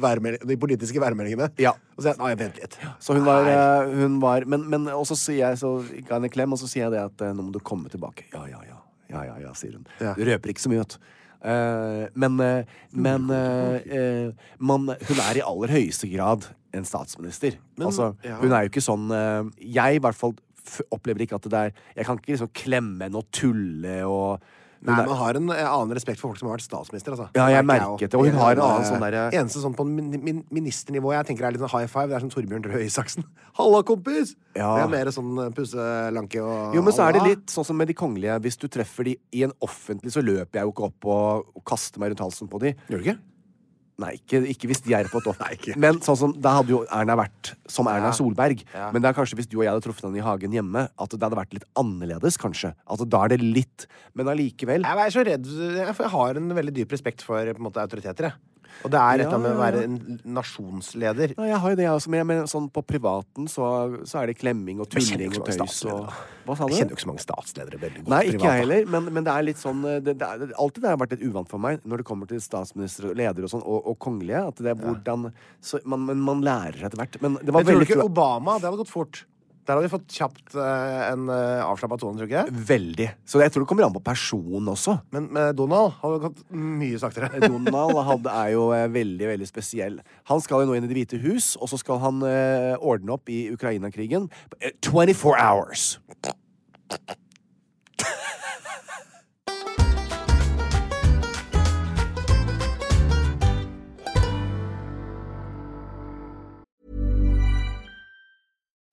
S4: værmel- de politiske værmeldingene.
S3: Ja.
S4: Og så sier hun nei, vent litt.
S3: Så hun var,
S4: Nei.
S3: eh, hun var Men, men og så sier jeg så ga henne en klem, og så sier jeg det at eh, nå må du komme tilbake. Ja, ja, ja. Ja, ja, ja, sier hun.
S4: Ja.
S3: Du røper ikke så mye, vet du. Eh, men eh, men eh, eh, man, hun er i aller høyeste grad en statsminister. altså,
S4: ja.
S3: Hun er jo ikke sånn eh, Jeg i hvert fall f opplever ikke at det der Jeg kan ikke liksom klemme henne og tulle og hun
S4: Nei,
S3: er-
S4: Man har en eh, annen respekt for folk som har vært statsminister. Altså.
S3: Ja, jeg
S4: merker
S3: merket
S4: også.
S3: det, og hun har en annen
S4: eh,
S3: sånn derre-
S4: Eneste sånn på min, min, ministernivå jeg tenker er litt sånn high five, det er sånn Torbjørn Røe Isaksen. Halla, kompis!
S3: Ja.
S4: Det er mer sånn eh, pusselanke og
S3: Jo, men så er det
S4: «Halla».
S3: litt sånn som med de kongelige. Hvis du treffer de i en offentlig, så løper jeg jo ikke opp og, og kaster meg rundt halsen på de.
S4: Gjør du ikke?
S3: Nei, ikke, ikke hvis de er på et topp.
S4: Nei, ikke.
S3: Men sånn som, da hadde jo Erna vært som Erna Solberg. Men det er kanskje hvis du og jeg hadde truffet henne i hagen hjemme, at det hadde vært litt annerledes, kanskje. Altså, da er det litt Men allikevel.
S4: Jeg er så redd jeg- for Jeg har en veldig dyp respekt for på en måte, autoriteter. Jeg. Og det er dette
S3: Ja,
S4: med å
S3: ja, ja.
S4: være en nasjonsleder.
S3: Ja, jeg har jo det, jeg også, men jeg mener, sånn på privaten så, så er det klemming og
S4: Jeg kjenner
S3: tulling
S4: jo
S3: og
S4: ikke
S3: tøys og Hva sa
S4: så mange statsledere. Jeg kjenner jo
S3: du?
S4: ikke så mange statsledere veldig godt
S3: Nei, ikke
S4: privat, da.
S3: jeg heller, men, men det er litt sånn eh, det, det, er, Alltid det har vært litt uvant for meg når det kommer til statsminister og ledere og sånn, og, og kongelige, at det er hvordan så, man, Men man lærer etter hvert. Men det var
S4: Men tror du
S3: veldig
S4: ikke
S3: flo-
S4: Obama Det hadde gått fort. Der hadde vi fått kjapt eh, en uh, avslappa tone, tror du ikke det?
S3: Veldig. Så jeg tror det kommer an på personen også.
S4: Men med Donald hadde det gått mye saktere.
S3: Eh, Donald hadde, er jo eh, veldig veldig spesiell. Han skal jo nå inn i Det hvite hus, og så skal han eh, ordne opp i Ukraina-krigen. Eh, 24 hours!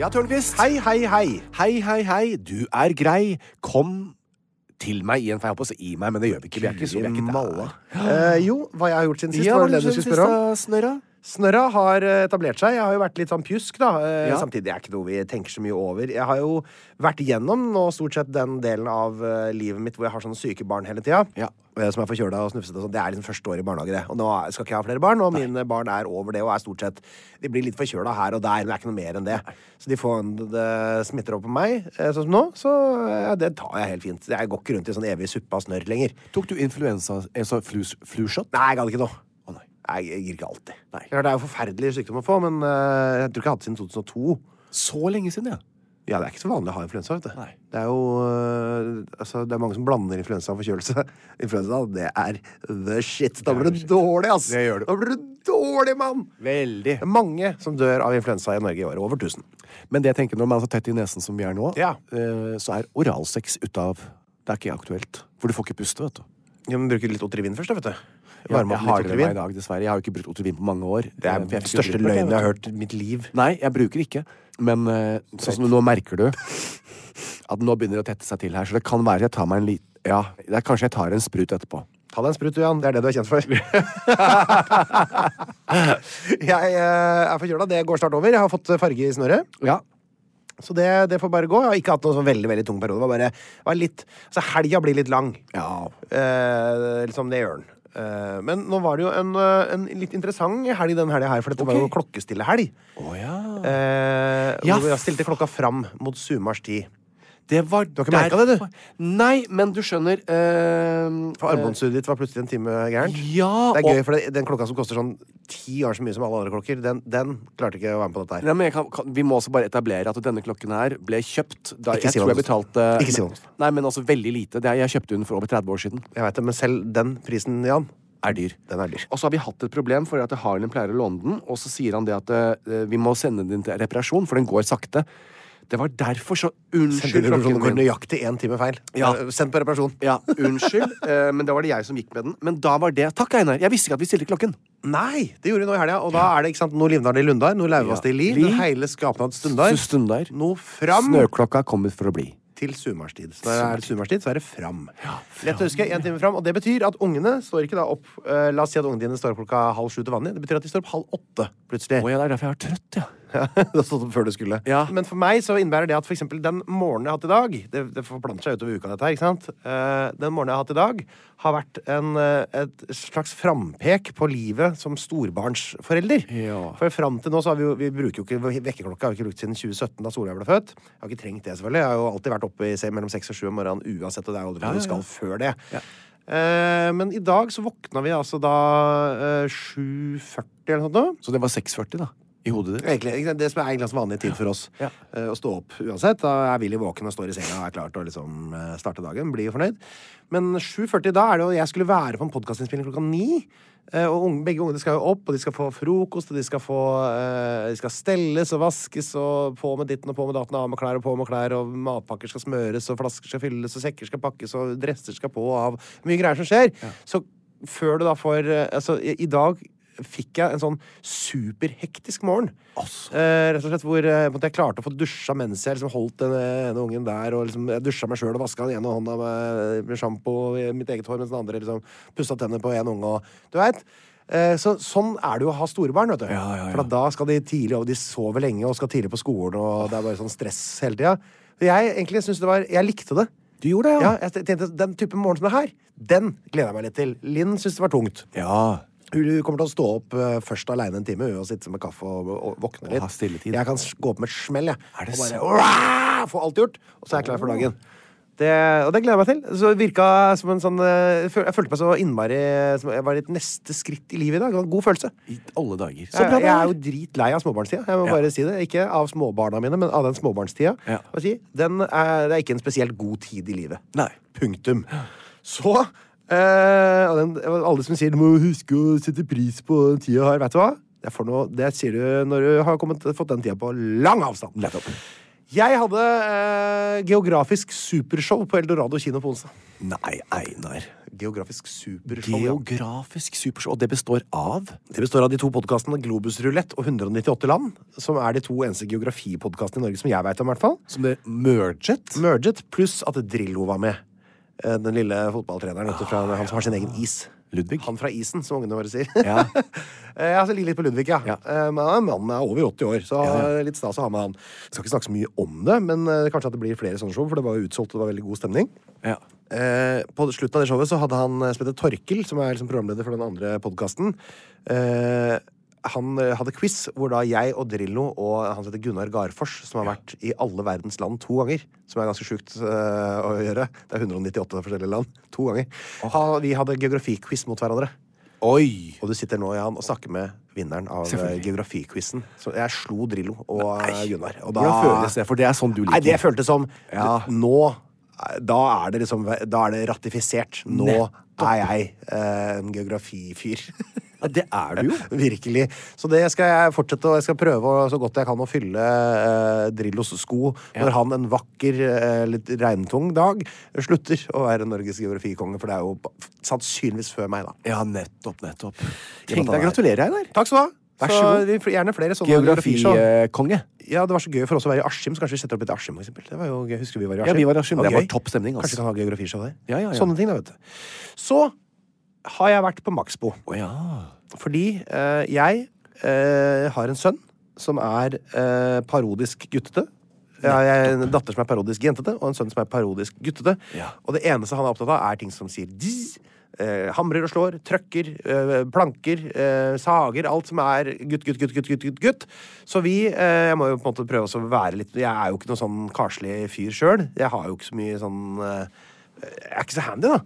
S3: Ja, Tørnquist.
S4: Hei, hei, hei!
S3: hei, hei, hei. Du er grei. Kom til meg i en feil på å si i meg, men det gjør vi ikke. Vi er ikke så vi er ikke der.
S4: Eh, jo, hva jeg har gjort siden sist,
S3: Ja,
S4: var
S3: hva
S4: det det du
S3: skjedde
S4: skulle spørre
S3: sist,
S4: om?
S3: da, Snørra?
S4: Snørra har eh, etablert seg. Jeg har jo vært litt sånn pjusk, da. eh,
S3: Ja.
S4: Samtidig er ikke noe vi tenker så mye over. Jeg har jo vært igjennom nå stort sett den delen av eh, livet mitt hvor jeg har sånne syke barn hele tida.
S3: Ja.
S4: eh, Som er forkjøla og snufsete og sånn. Det er liksom første år i barnehage, det. Og nå er- skal ikke jeg ha flere barn, og mine barn er over det og er stort sett De blir litt forkjøla her og der, men det er ikke noe mer enn det. Så de får det smitter over på meg, eh, sånn som nå, så eh, det tar jeg helt fint. Jeg går ikke rundt i sånn evig suppe av snørr lenger.
S3: Tok du influensa altså flus, flushot?
S4: Nei, jeg gadd ikke nå.
S3: Å, nei.
S4: Nei, jeg gir ikke alltid.
S3: Nei.
S4: Klart, Det er jo forferdelig sykdom å få, men eh, jeg tror ikke jeg har hatt det siden 2002.
S3: Så lenge siden, ja.
S4: Ja, det er ikke så vanlig å ha influensa. vet du.
S3: Nei.
S4: Det er jo eh, altså, det er mange som blander influensa og forkjølelse. Influensa, det er the shit. Da blir du dårlig, ass!
S3: Det gjør du.
S4: Da blir du dårlig, mann!
S3: Veldig.
S4: Det er mange som dør av influensa i Norge i året. Over 1000.
S3: Men det jeg tenker når man er så tett i nesen som vi er nå,
S4: Ja.
S3: eh, så er oralsex ut av Det er ikke aktuelt. For du får ikke puste, vet du.
S4: Ja, men Bruker litt Otrivin først, da, vet du.
S3: Jeg,
S4: Varme opp
S3: har
S4: litt
S3: det med meg i
S4: Otrivin.
S3: dag, dessverre. Jeg har jo ikke brukt Otrivin på mange år.
S4: Det er
S3: Eh, for jeg
S4: den
S3: fikk
S4: største
S3: Otrivin på det,
S4: løgnen jeg
S3: vet
S4: har hørt i mitt liv.
S3: du. Nei, jeg bruker ikke. Men eh, sånn som nå merker du at nå begynner det å tette seg til her, så det kan være jeg tar meg en liten Ja, det er kanskje jeg tar en sprut etterpå.
S4: Ta deg en sprut, du, Jan. Det er det du er kjent for. jeg eh, er forkjøla. Det går snart over. Jeg har fått eh, farge i snøret.
S3: Ja.
S4: Så det, det får bare gå. Jeg har ikke hatt noen sånn veldig veldig tung periode. Det var bare, det var litt, altså Helga blir litt lang.
S3: Ja.
S4: Eh, liksom det gjør den. Eh, men nå var det jo en, eh, en litt interessant helg den helga her, for dette var jo
S3: Ok.
S4: klokkestille helg.
S3: Å ja.
S4: Eh,
S3: Ja,
S4: Hvor jeg stilte klokka fram mot Sumars tid.
S3: Det var
S4: har ikke merket det, du?
S3: Nei, men du skjønner eh,
S4: For armbåndsuret ditt var plutselig en time gærent.
S3: Ja,
S4: Det er
S3: og-
S4: gøy, for det, den klokka som koster sånn ti ganger så mye som alle andre klokker, den, den klarte ikke å være med på dette her.
S3: Nei, men jeg kan, kan, vi må også bare etablere at denne klokken her ble kjøpt da
S4: Ikke
S3: jeg
S4: si hva
S3: tror jeg
S4: den koster.
S3: betalte
S4: Ikke si hva den koster.
S3: Nei, men altså veldig lite. Det er, jeg kjøpte den for over 30 år siden.
S4: Jeg vet det, Men selv den prisen, Jan,
S3: Er dyr.
S4: den er dyr.
S3: Og så har vi hatt et problem for at Harlem pleier å låne den, og så sier han det at eh, vi må sende den til reparasjon, for den går sakte. Det var derfor så Unnskyld, klokken
S4: Går
S3: min.
S4: nøyaktig én time feil.
S3: Ja.
S4: Eh, Sendt på reparasjon.
S3: Ja, unnskyld, eh, men da var det jeg som gikk med den. Men da var det Takk, Einar. Jeg visste ikke at vi stilte klokken.
S4: Nei, det gjorde vi nå i helga. Og da er det ikke sant, nå livnar det i Lundar, nå lauves det i Li.
S3: Li.
S4: Den heile skapnad stundar.
S3: Så stundar.
S4: Nå fram
S3: Snøklokka er kommet for å bli.
S4: til sumarstid. Så når det er sumarstid, så er det fram. Lett å huske, en time fram. Og det betyr at ungene står ikke da opp eh, La oss si at ungene dine står opp klokka halv sju til vanlig. Det betyr at de står opp halv åtte plutselig.
S3: Å ja, det er derfor jeg har trøtt, ja.
S4: Du har stått opp sånn før du skulle.
S3: Ja.
S4: Men for meg så innebærer det at for eksempel den morgenen jeg har hatt i dag Det, det forplanter seg utover uka, dette her, ikke sant? Eh, den morgenen jeg har hatt i dag, har vært en, eh, et slags frampek på livet som storbarnsforelder.
S3: Ja.
S4: For fram til nå så har vi jo Vi bruker jo ikke vekkerklokka, har vi ikke brukt siden 2017, da Solveig ble født. Jeg har ikke trengt det, selvfølgelig. Jeg har jo alltid vært oppe i se, mellom seks og sju om morgenen uansett, og det er jo aldri noe du skal før det. Eh, men i dag så våkna vi altså da eh, 7.40 eller noe sånt. nå.
S3: Så det var 6.40, da. I hodet ditt.
S4: Egentlig, ikke sant? det som er egentlig en vanlig tid for oss
S3: Ja.
S4: eh, å stå opp uansett. Da er Willy våken og står i senga og er klar til å liksom, eh, starte dagen. Blir jo fornøyd. Men 7.40 da er det jo Jeg skulle være på en podkastinnspilling klokka ni. eh, Og unge, begge ungene skal jo opp, og de skal få frokost, og de skal, få, eh, de skal stelles og vaskes, og på med ditten og på med datten, av med klær og på med klær, og matpakker skal smøres, og flasker skal fylles, og sekker skal pakkes, og dresser skal på og av. Mye greier som skjer. Så før du da får eh, Altså, i, i dag fikk jeg en sånn superhektisk morgen. Eh, rett og slett hvor eh, på en måte jeg klarte å få dusja mens jeg liksom holdt den ene ungen der. Og liksom, jeg dusja meg sjøl og vaska den ene hånda med, med sjampo i mitt eget hår, mens den andre liksom pussa tennene på en unge. Og, du vet. Eh, så, sånn er det jo å ha store barn. vet du
S3: Ja, ja, ja.
S4: For at da skal de tidlig over. De sover lenge og skal tidlig på skolen, og det er bare sånn stress hele tida. Jeg egentlig synes det var Jeg likte det.
S3: Du gjorde
S4: Ja, jeg tenkte Den typen morgen som det her, den gleder jeg meg litt til. Linn syntes det var tungt.
S3: Ja.
S4: Hun kommer til å stå opp eh, først alene en time hun, og sitte med kaffe og, og våkne
S3: ha stille
S4: litt.
S3: tid.
S4: Jeg kan s- gå opp med et smell, jeg.
S3: Er det
S4: og bare
S3: sant?
S4: «Årah!» få alt gjort, og så er jeg klar for dagen. Det, og det gleder jeg meg til. Så det virka som en sånn eh, føl- Jeg følte meg så innmari som Jeg var i et neste skritt i livet i dag. Det var en god følelse.
S3: I alle dager. Så
S4: Jeg,
S3: bra det
S4: jeg er
S3: er.
S4: jo dritlei av småbarnstida. Jeg må
S3: Ja.
S4: bare si det. Ikke av småbarna mine, men av den småbarnstida.
S3: Ja.
S4: Hva Si, den er, det er ikke en spesielt god tid i livet.
S3: Nei.
S4: Punktum. Så eh, og den, og Alle som sier 'du må huske å sette pris på den tida her', vet du hva? Det, er for noe, det sier du når du har kommet, fått den tida på lang avstand.
S3: Nettopp.
S4: Jeg hadde eh, geografisk supershow på Eldorado kino på onsdag.
S3: Nei, Einar.
S4: Geografisk supershow. ja.
S3: Geografisk supershow. Og det består av
S4: Det består av de to podkastene Globus Rulett og 198 land, som er de to eneste geografipodkastene i Norge som jeg veit om, i hvert fall.
S3: Som det merget?
S4: Ah, Merget, pluss at Drillo var med. Eh, Den lille fotballtreneren vet du, fra, han som har sin egen is.
S3: Ludvig.
S4: Han fra isen, som ungene våre sier.
S3: Ja.
S4: Eh, altså, ligger litt på Ludvig, ja.
S3: Ja.
S4: Eh, Men han er- mannen er over 80 år, så
S3: Ja,
S4: eh, litt stas å ha med han. Jeg skal ikke snakke så mye om det, men eh, kanskje at det blir flere sånne show, for det var jo utsolgt, og det var veldig god stemning.
S3: Ja.
S4: Eh, på slutten av det showet så hadde han eh, som heter Torkel, som er liksom programleder for den andre podkasten. Eh, han eh, hadde quiz hvor da jeg og Drillo og han som heter Gunnar Garfors, som har vært i alle verdens land to ganger, som er ganske sjukt eh, å gjøre Det er 198 forskjellige land. To ganger. Han, vi hadde geografiquiz mot hverandre.
S3: Oi!
S4: Og du sitter nå Jan, og snakker med vinneren av eh,
S3: Selvfølgelig.
S4: geografiquizen. Så jeg slo Drillo og eh, Gunnar. Og da
S3: Hvordan føles det? For det er sånn du liker.
S4: Nei, det føltes som
S3: Ja.
S4: du- Nå eh, Da er det liksom Da er det ratifisert. Nå er jeg eh, en geografifyr.
S3: Ja, det er du jo.
S4: Virkelig. Så det skal jeg fortsette, og jeg skal prøve å, så godt jeg kan å fylle eh, Drillos sko når han en vakker, eh, litt regntung dag slutter å være Norges geografikonge, for det er jo ba- sannsynligvis før meg, da.
S3: Ja, nettopp, nettopp.
S4: Tenk deg,
S3: gratulerer, Einar.
S4: Takk skal du ha!
S3: Vær
S4: så
S3: så god.
S4: vi får Gjerne flere sånne geografishow.
S3: Geografikonge.
S4: Ja, Det var så gøy for oss å være i Askim, så kanskje vi setter opp et Askim. For eksempel. det var jo gøy. Husker vi var i
S3: Ja,
S4: Askim?
S3: vi var i Askim. Det
S4: gøy.
S3: var topp stemning, altså.
S4: Kanskje vi kan ha geografishow der.
S3: Ja, ja, ja.
S4: Sånne ting, da, vet du. Så har jeg vært på Maxbo.
S3: Å ja.
S4: Fordi eh, jeg eh, har en sønn som er eh, parodisk guttete. Jeg har en datter som er parodisk jentete, og en sønn som er parodisk guttete.
S3: Ja.
S4: Og det eneste han er opptatt av, er ting som sier dzz, eh, hamrer og slår, trøkker, eh, planker, eh, sager, alt som er gutt, gutt, gutt, gutt, gutt, gutt, gutt. Så vi, eh, jeg må jo på en måte prøve også å være litt, jeg er jo ikke noen sånn karslig fyr selv, jeg har jo ikke så mye sånn, eh, jeg er ikke så handy da.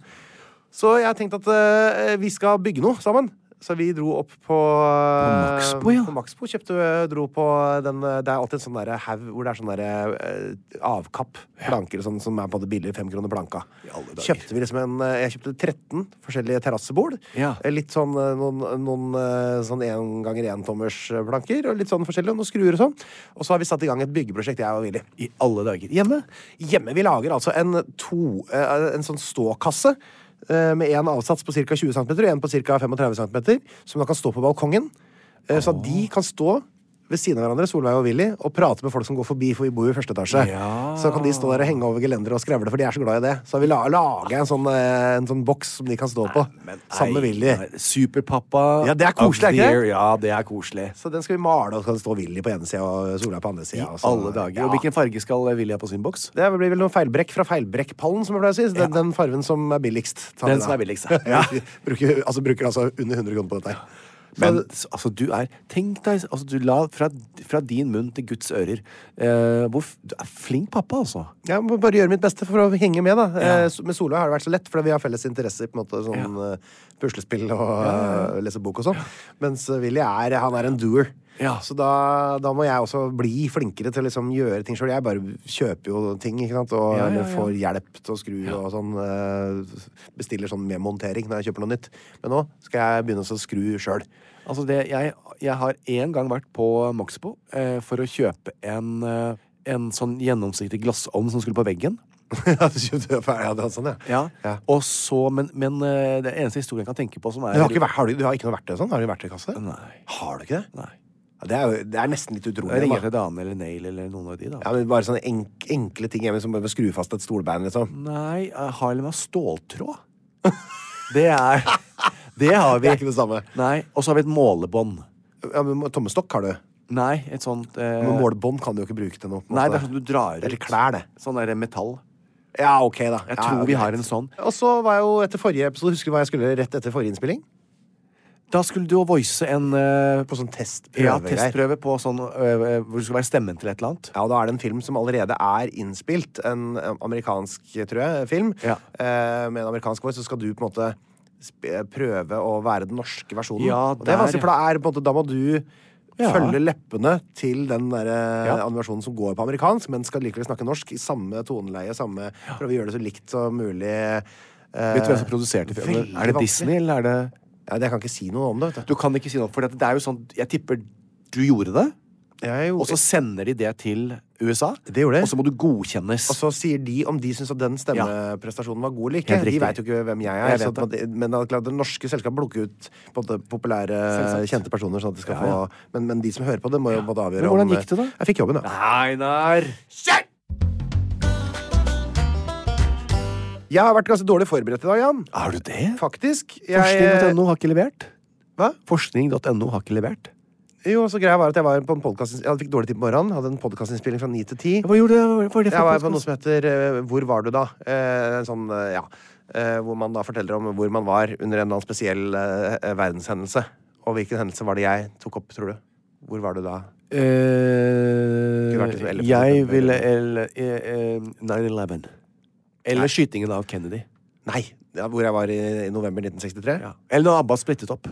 S4: Så jeg tenkte at eh, vi skal bygge noe sammen. Så vi dro opp på På
S3: Maxbo, ja.
S4: På Maxbo kjøpte, dro på den eh, Det er alltid en sånn derre haug hvor det er sånn derre eh, avkapp. Planker og sånn som er på det billige fem kroner planka.
S3: alle dager.
S4: Kjøpte vi liksom en eh, Jeg kjøpte 13 forskjellige terrassebord.
S3: Ja.
S4: Eh, Litt sånn eh, noen, noen eh, sånn én ganger én tommers eh, planker, og litt sånn forskjellig, og noen skruer og sånn. Og så har vi satt i gang et byggeprosjekt, jeg og Willy.
S3: I alle dager. Hjemme?
S4: Hjemme vi lager altså en, to, eh, en sånn ståkasse eh, med én avsats på ca. 20 cm og en på ca. 35 cm, som da kan stå på balkongen. Eh, Så at de kan stå ved siden av hverandre, Solveig og Willy, og prate med folk som går forbi, for vi bor jo i første etasje.
S3: Ja.
S4: Så kan de stå der og henge over gelenderet og skrevle, for de er så glad i det. Så vi la, lager en sånn, eh, en sånn boks som de kan stå på, sammen med Willy.
S3: Einar, Superpappa.
S4: Ja, det er
S3: of
S4: koselig, er
S3: the
S4: ikke det?
S3: year. Ja, det er koselig.
S4: Så den skal vi male, og så kan det stå Willy på ene sida og Solveig på andre
S3: I
S4: sida.
S3: alle dager. Og hvilken farge skal Willy ha på sin boks?
S4: Det blir vel noen feilbrekk fra feilbrekkpallen, som jeg pleier å si. Så Den, den farven som er billigst. tar vi
S3: Den
S4: da.
S3: som er billigst,
S4: ja.
S3: ja.
S4: bruker, altså, bruker altså under 100 kroner på dette. her. Så,
S3: Men s- altså, du er Tenk deg altså, Du la fra, fra din munn til Guds ører eh, hvor, f- Du er flink pappa, altså.
S4: jeg må bare gjøre mitt beste for å henge med, da. Eh, s- Med Solveig har det vært så lett, fordi vi har felles interesser. på en måte, sånn eh, Puslespill og eh, lese bok og sånn. Mens eh, Willy er, han er en doer.
S3: Ja.
S4: Så da, da må jeg også bli flinkere til å liksom gjøre ting sjøl. Jeg bare kjøper jo ting, ikke sant? Og,
S3: Ja, ja,
S4: eller
S3: ja.
S4: får hjelp til å skru og sånn. eh, Bestiller sånn med montering når jeg kjøper noe nytt. Men nå skal jeg begynne å skru sjøl.
S3: Altså det, jeg, jeg har en gang vært på Maxbo eh, for å kjøpe en, eh, en sånn gjennomsiktig glassovn som skulle på veggen.
S4: ja, du kjøpte ferdig, ja, det var sånn, ja. Ja.
S3: Og så, men, men eh, det eneste historien jeg kan tenke på som
S4: Men
S3: er
S4: du har, ikke, vært- har du, du har ikke noe verktøy og sånn? Har du verktøykasse?
S3: Nei.
S4: Har du ikke det?
S3: Nei.
S4: Ja, det, er jo, det er nesten litt
S3: Jeg
S4: utrolig.
S3: ringer
S4: da.
S3: til Dane eller Nail eller noen av de, da.
S4: Ja, men bare sånne enk, enkle ting hjemme som bare skru fast et stolbein,
S3: Mm.
S4: liksom.
S3: Nei, jeg har eller med ståltråd. det er Det har vi.
S4: Det er ikke det samme.
S3: Nei. Og så har vi et målebånd.
S4: Ja, men Tommestokk har du.
S3: Nei, et sånt eh,
S4: Men målebånd kan du jo ikke bruke til noe. på en
S3: Nei,
S4: måte.
S3: det er sånn du drar ut.
S4: Eller klær, det.
S3: Sånn derre metall.
S4: Ja, ok, da.
S3: Jeg
S4: Ja,
S3: tror
S4: ja,
S3: vi
S4: greit.
S3: har en sånn.
S4: Og så var jeg jo etter forrige episode Husker du hva jeg skulle rett etter forrige innspilling?
S3: Da skulle du jo voice en eh,
S4: På sånn
S3: ja,
S4: testprøve.
S3: testprøve på sånn ø, ø, hvor du skal være stemmen til et eller annet.
S4: Ja, og da er det en film som allerede er innspilt. En eh, amerikansk, tror jeg, film.
S3: Ja.
S4: Eh, med en amerikansk voice. Så skal du på en måte sp- eh, prøve å være den norske versjonen.
S3: Ja,
S4: og det er
S3: der,
S4: vanskelig, for da, er, på en måte, da må du
S3: Ja.
S4: følge leppene til den der, eh,
S3: Ja.
S4: animasjonen som går på amerikansk, men skal likevel snakke norsk i samme toneleie. Samme, Prøve å gjøre det så likt som mulig. Eh,
S3: Vet du hvem som produserte filmen?
S4: veldig
S3: Er det
S4: vanskelig.
S3: Disney, eller er det
S4: Ja, jeg kan ikke si noe om det. vet
S3: Du kan ikke si noe, for det er jo sånn Jeg tipper du gjorde det,
S4: du. Jeg,
S3: og så sender de det til USA.
S4: Det gjorde de.
S3: Og så må du godkjennes.
S4: Og så sier de om de syns at den stemmeprestasjonen var god eller ikke.
S3: Helt
S4: De
S3: riktig.
S4: veit jo ikke hvem jeg er.
S3: Jeg
S4: så
S3: vet
S4: på en måte- men det, er klart, det norske selskapet plukker ut på en måte populære,
S3: Selvsagt.
S4: kjente personer. Sånn at de skal
S3: Ja, ja.
S4: Få, men, men de som hører på det, må jo både avgjøre
S3: Men hvordan
S4: om
S3: gikk det da?
S4: Jeg fikk jobben, da.
S3: Einar!
S4: Jeg har vært ganske dårlig forberedt i dag, Jan.
S3: Har du det?
S4: Faktisk. Jeg-
S3: Forskning.no har ikke levert.
S4: Hva?
S3: Forskning.no har ikke levert.
S4: Jo, så greia var at jeg var på en podcast, jeg fikk dårlig tid på morgenen. Hadde en podkastinnspilling fra ni til ti.
S3: Hva gjorde du? Hva var det for
S4: Jeg var på
S3: podcast?
S4: noe som heter eh, Hvor var du da? Eh, en sånn, eh, ja eh, Hvor man da forteller om hvor man var under en eller annen spesiell eh, eh, verdenshendelse. Og hvilken hendelse var det jeg tok opp, tror du? Hvor var du da? Skulle vært
S3: Eh,
S4: liksom 11.
S3: jeg
S4: september.
S3: ville el- eh, eh, 9-11. Eller skytingen av Kennedy.
S4: Nei! Ja, hvor jeg var i, i november 1963? Ja.
S3: Eller da ABBA splittet opp.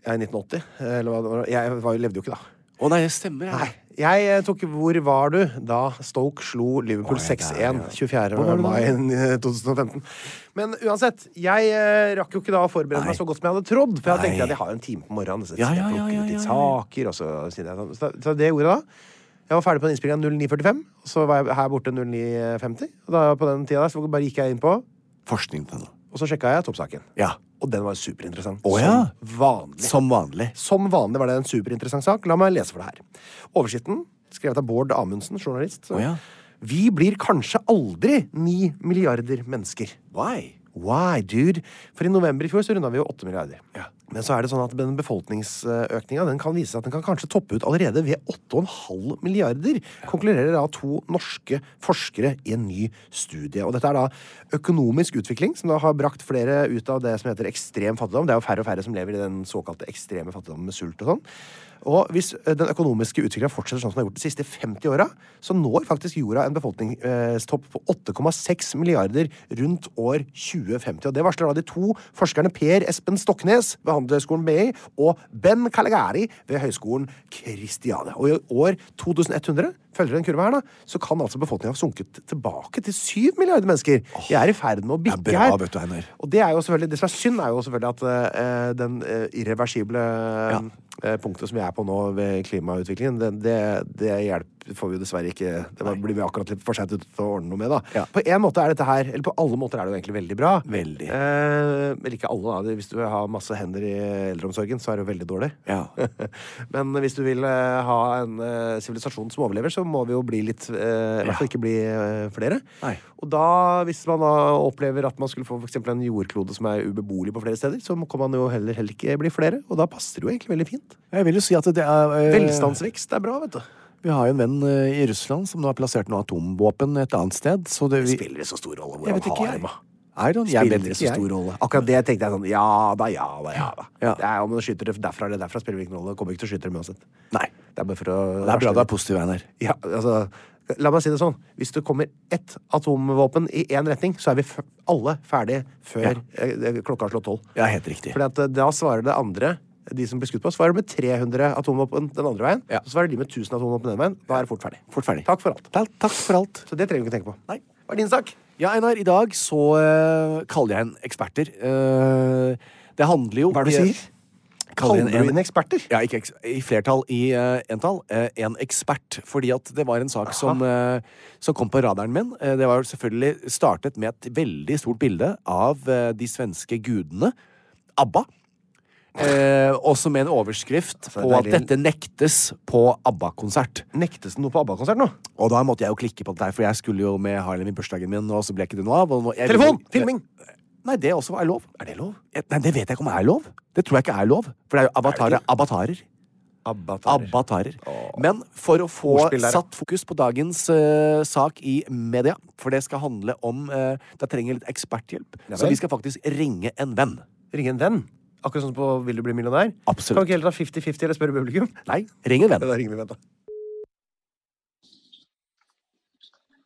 S3: Å
S4: I 1980? Eller hva det var. Jeg var, levde jo ikke da.
S3: nei, det stemmer. ja.
S4: Nei. Jeg eh, tok Hvor var du da Stoke slo Liverpool
S3: Oi,
S4: 6-1 24.
S3: Hvor var du da?
S4: mai eh, 2015? Men uansett, jeg eh, rakk jo ikke da å forberede meg så godt som jeg hadde trodd. For jeg
S3: Nei.
S4: tenkte at jeg har en time på morgenen, så
S3: Ja,
S4: jeg
S3: ja, ja,
S4: plukker
S3: ja,
S4: ut litt
S3: ja, ja.
S4: saker, og så sier jeg sånn. Så, så det gjorde jeg da. Jeg var ferdig på den innspillingen 09.45, og så var jeg her borte 09.50. Og da på den tida der så bare gikk jeg inn på,
S3: Forskning.no.
S4: og så sjekka jeg toppsaken.
S3: Ja.
S4: Og den var superinteressant.
S3: Å, ja.
S4: Som vanlig.
S3: Som vanlig.
S4: Som vanlig var det en superinteressant sak. La meg lese for deg her. Overskriften, skrevet av Bård Amundsen, journalist.
S3: Å, ja.
S4: Vi blir kanskje aldri ni milliarder mennesker.
S3: Why?
S4: Why, dude? For i november i fjor så runda vi jo åtte milliarder. Men så er det sånn at den befolkningsøkninga den kan vise seg at den kan kanskje toppe ut allerede ved 8,5 milliarder, konkluderer da to norske forskere i en ny studie. Og dette er da økonomisk utvikling, som da har brakt flere ut av det som heter ekstrem fattigdom. Det er jo færre og færre som lever i den såkalte ekstreme fattigdommen med sult og sånn. Og hvis eh, den økonomiske utviklingen fortsetter sånn som den har gjort de siste 50 åra, så når faktisk jorda en befolkningstopp på 8,6 milliarder rundt år 2050. Og det varsler da de to forskerne Per Espen Stoknes ved Handelshøyskolen BI og Ben Caligari ved Høgskolen Kristiania. Og i år 2100, følger den kurva her, da, så kan altså befolkninga ha sunket tilbake til 7 milliarder mennesker. Vi er i ferd med å bikke
S3: Det er bra,
S4: her.
S3: vet du, Einar.
S4: Og det, er jo selvfølgelig- det som er synd, er jo selvfølgelig at eh, den eh, irreversible eh, punktet som vi er på nå ved klimautviklingen, det, det, det hjelper, får vi jo dessverre ikke Det var- blir vi akkurat litt for seint ute til å ordne noe med, da.
S3: Ja.
S4: På en måte er dette her, eller på alle måter er det jo egentlig veldig bra.
S3: Veldig.
S4: Eh, eller ikke alle, da. Det- Hvis du har masse hender i eldreomsorgen, så er det jo veldig dårlig.
S3: Ja.
S4: Men hvis du vil eh, ha en eh, sivilisasjon som overlever, så må vi jo bli litt eh, I hvert fall ikke bli eh, flere.
S3: Nei.
S4: Og da, hvis man da opplever at man skulle få for eksempel en jordklode som er ubeboelig på flere steder, så kan man jo heller, heller ikke bli flere. Og da passer det jo egentlig veldig fint.
S3: Jeg vil jo si at det er eh,
S4: Velstandsvekst er bra, vet du.
S3: Vi har jo en venn eh, i Russland som nå har plassert noe atomvåpen et annet sted. Så det, vi,
S4: Spiller det så stor rolle hvor
S3: jeg vet
S4: han
S3: ikke,
S4: har
S3: jeg.
S4: dem? da?
S3: I don't, jeg
S4: Spiller
S3: vet
S4: det
S3: ikke,
S4: så stor
S3: jeg.
S4: rolle? Akkurat det tenkte jeg sånn Ja da, ja da, ja da.
S3: Ja.
S4: Det er, om du skyter det derfra eller derfra, spiller det ingen rolle. Kommer ikke til å skyte dem uansett.
S3: Nei.
S4: Det er bare for å
S3: Det er bra
S4: varsle
S3: du
S4: litt.
S3: er positiv, Einar.
S4: Ja, altså La meg si det sånn. Hvis det kommer ett atomvåpen i én retning, så er vi f alle ferdige før eh, klokka har slått tolv.
S3: Ja, helt riktig.
S4: Fordi at eh, da svarer det andre, de som blir skutt på, svarer med 300 atomvåpen den andre veien.
S3: Ja.
S4: Så svarer de med 1000 atomvåpen den veien. Da er det fort ferdig.
S3: Fort ferdig.
S4: Takk for alt.
S3: Ta- Takk for alt.
S4: Så det trenger vi ikke tenke på.
S3: Nei.
S4: Hva er din sak?
S3: Ja, Einar, i dag så eh, kaller jeg en eksperter. Eh, det handler jo
S4: Hva er det du
S3: Jeg-
S4: sier?
S3: Kaller
S4: Kaller du inn eksperter?
S3: Ja, ikke eks i flertall, i eh, entall. eh, en ekspert. Fordi at det var en sak som, eh, som kom på radaren min. Eh, det var jo selvfølgelig startet med et veldig stort bilde av eh, de svenske gudene. ABBA. Eh, også med en overskrift
S4: Altså,
S3: på at
S4: deilig.
S3: dette nektes på ABBA-konsert.
S4: Nektes det noe på ABBA-konsert nå?
S3: Og da måtte jeg jo klikke på det der, for jeg skulle jo med Harlem i bursdagen min, og så ble ikke det noe av. og nå- jeg-
S4: Telefon! Filming!
S3: Nei, det også er lov. Er det lov? Nei, det vet jeg ikke om er lov. Det tror jeg ikke er lov. For det er jo avatarer. abatarer.
S4: ABBA.
S3: Abatarer. Men for å få
S4: Ordspill der, ja.
S3: satt fokus på dagens eh, sak i media, for det skal handle om eh, Da trenger jeg litt eksperthjelp.
S4: vel.
S3: så vi skal faktisk ringe en venn.
S4: Ring en venn. Akkurat sånn på Vil du bli millionær?
S3: Absolutt.
S4: Kan vi ikke heller ta 50-50 eller spørre publikum?
S3: Nei, ring en
S4: Ja,
S3: venn.
S4: Da ringer vi venn, da.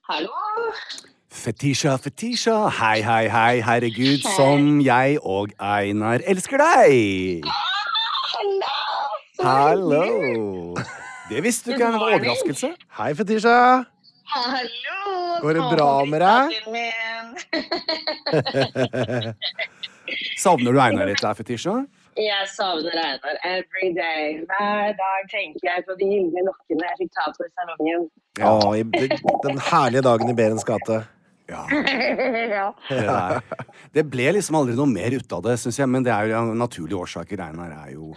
S5: Hallo?
S3: Fetisha, Fetisha, hei, hei, hei, herregud, som jeg og Einar elsker deg!
S5: Hallo!
S3: Hallo! Det visste du ikke, det var overraskelse.
S4: Hei, Fetisha!
S5: Hallo!
S4: Går det bra med deg?
S5: småbarnsdagen min.
S3: Savner du Einar litt der, Fetisha?
S5: Jeg savner Einar every day. Hver dag tenker jeg på de gylne lokkene jeg fikk ta på i salongen.
S4: Å, i, den herlige dagen i Berens gate.
S3: Ja.
S5: ja.
S3: Det, der. det ble liksom aldri noe mer ut av det, syns jeg. Men det er jo av naturlige årsaker. Einar er jo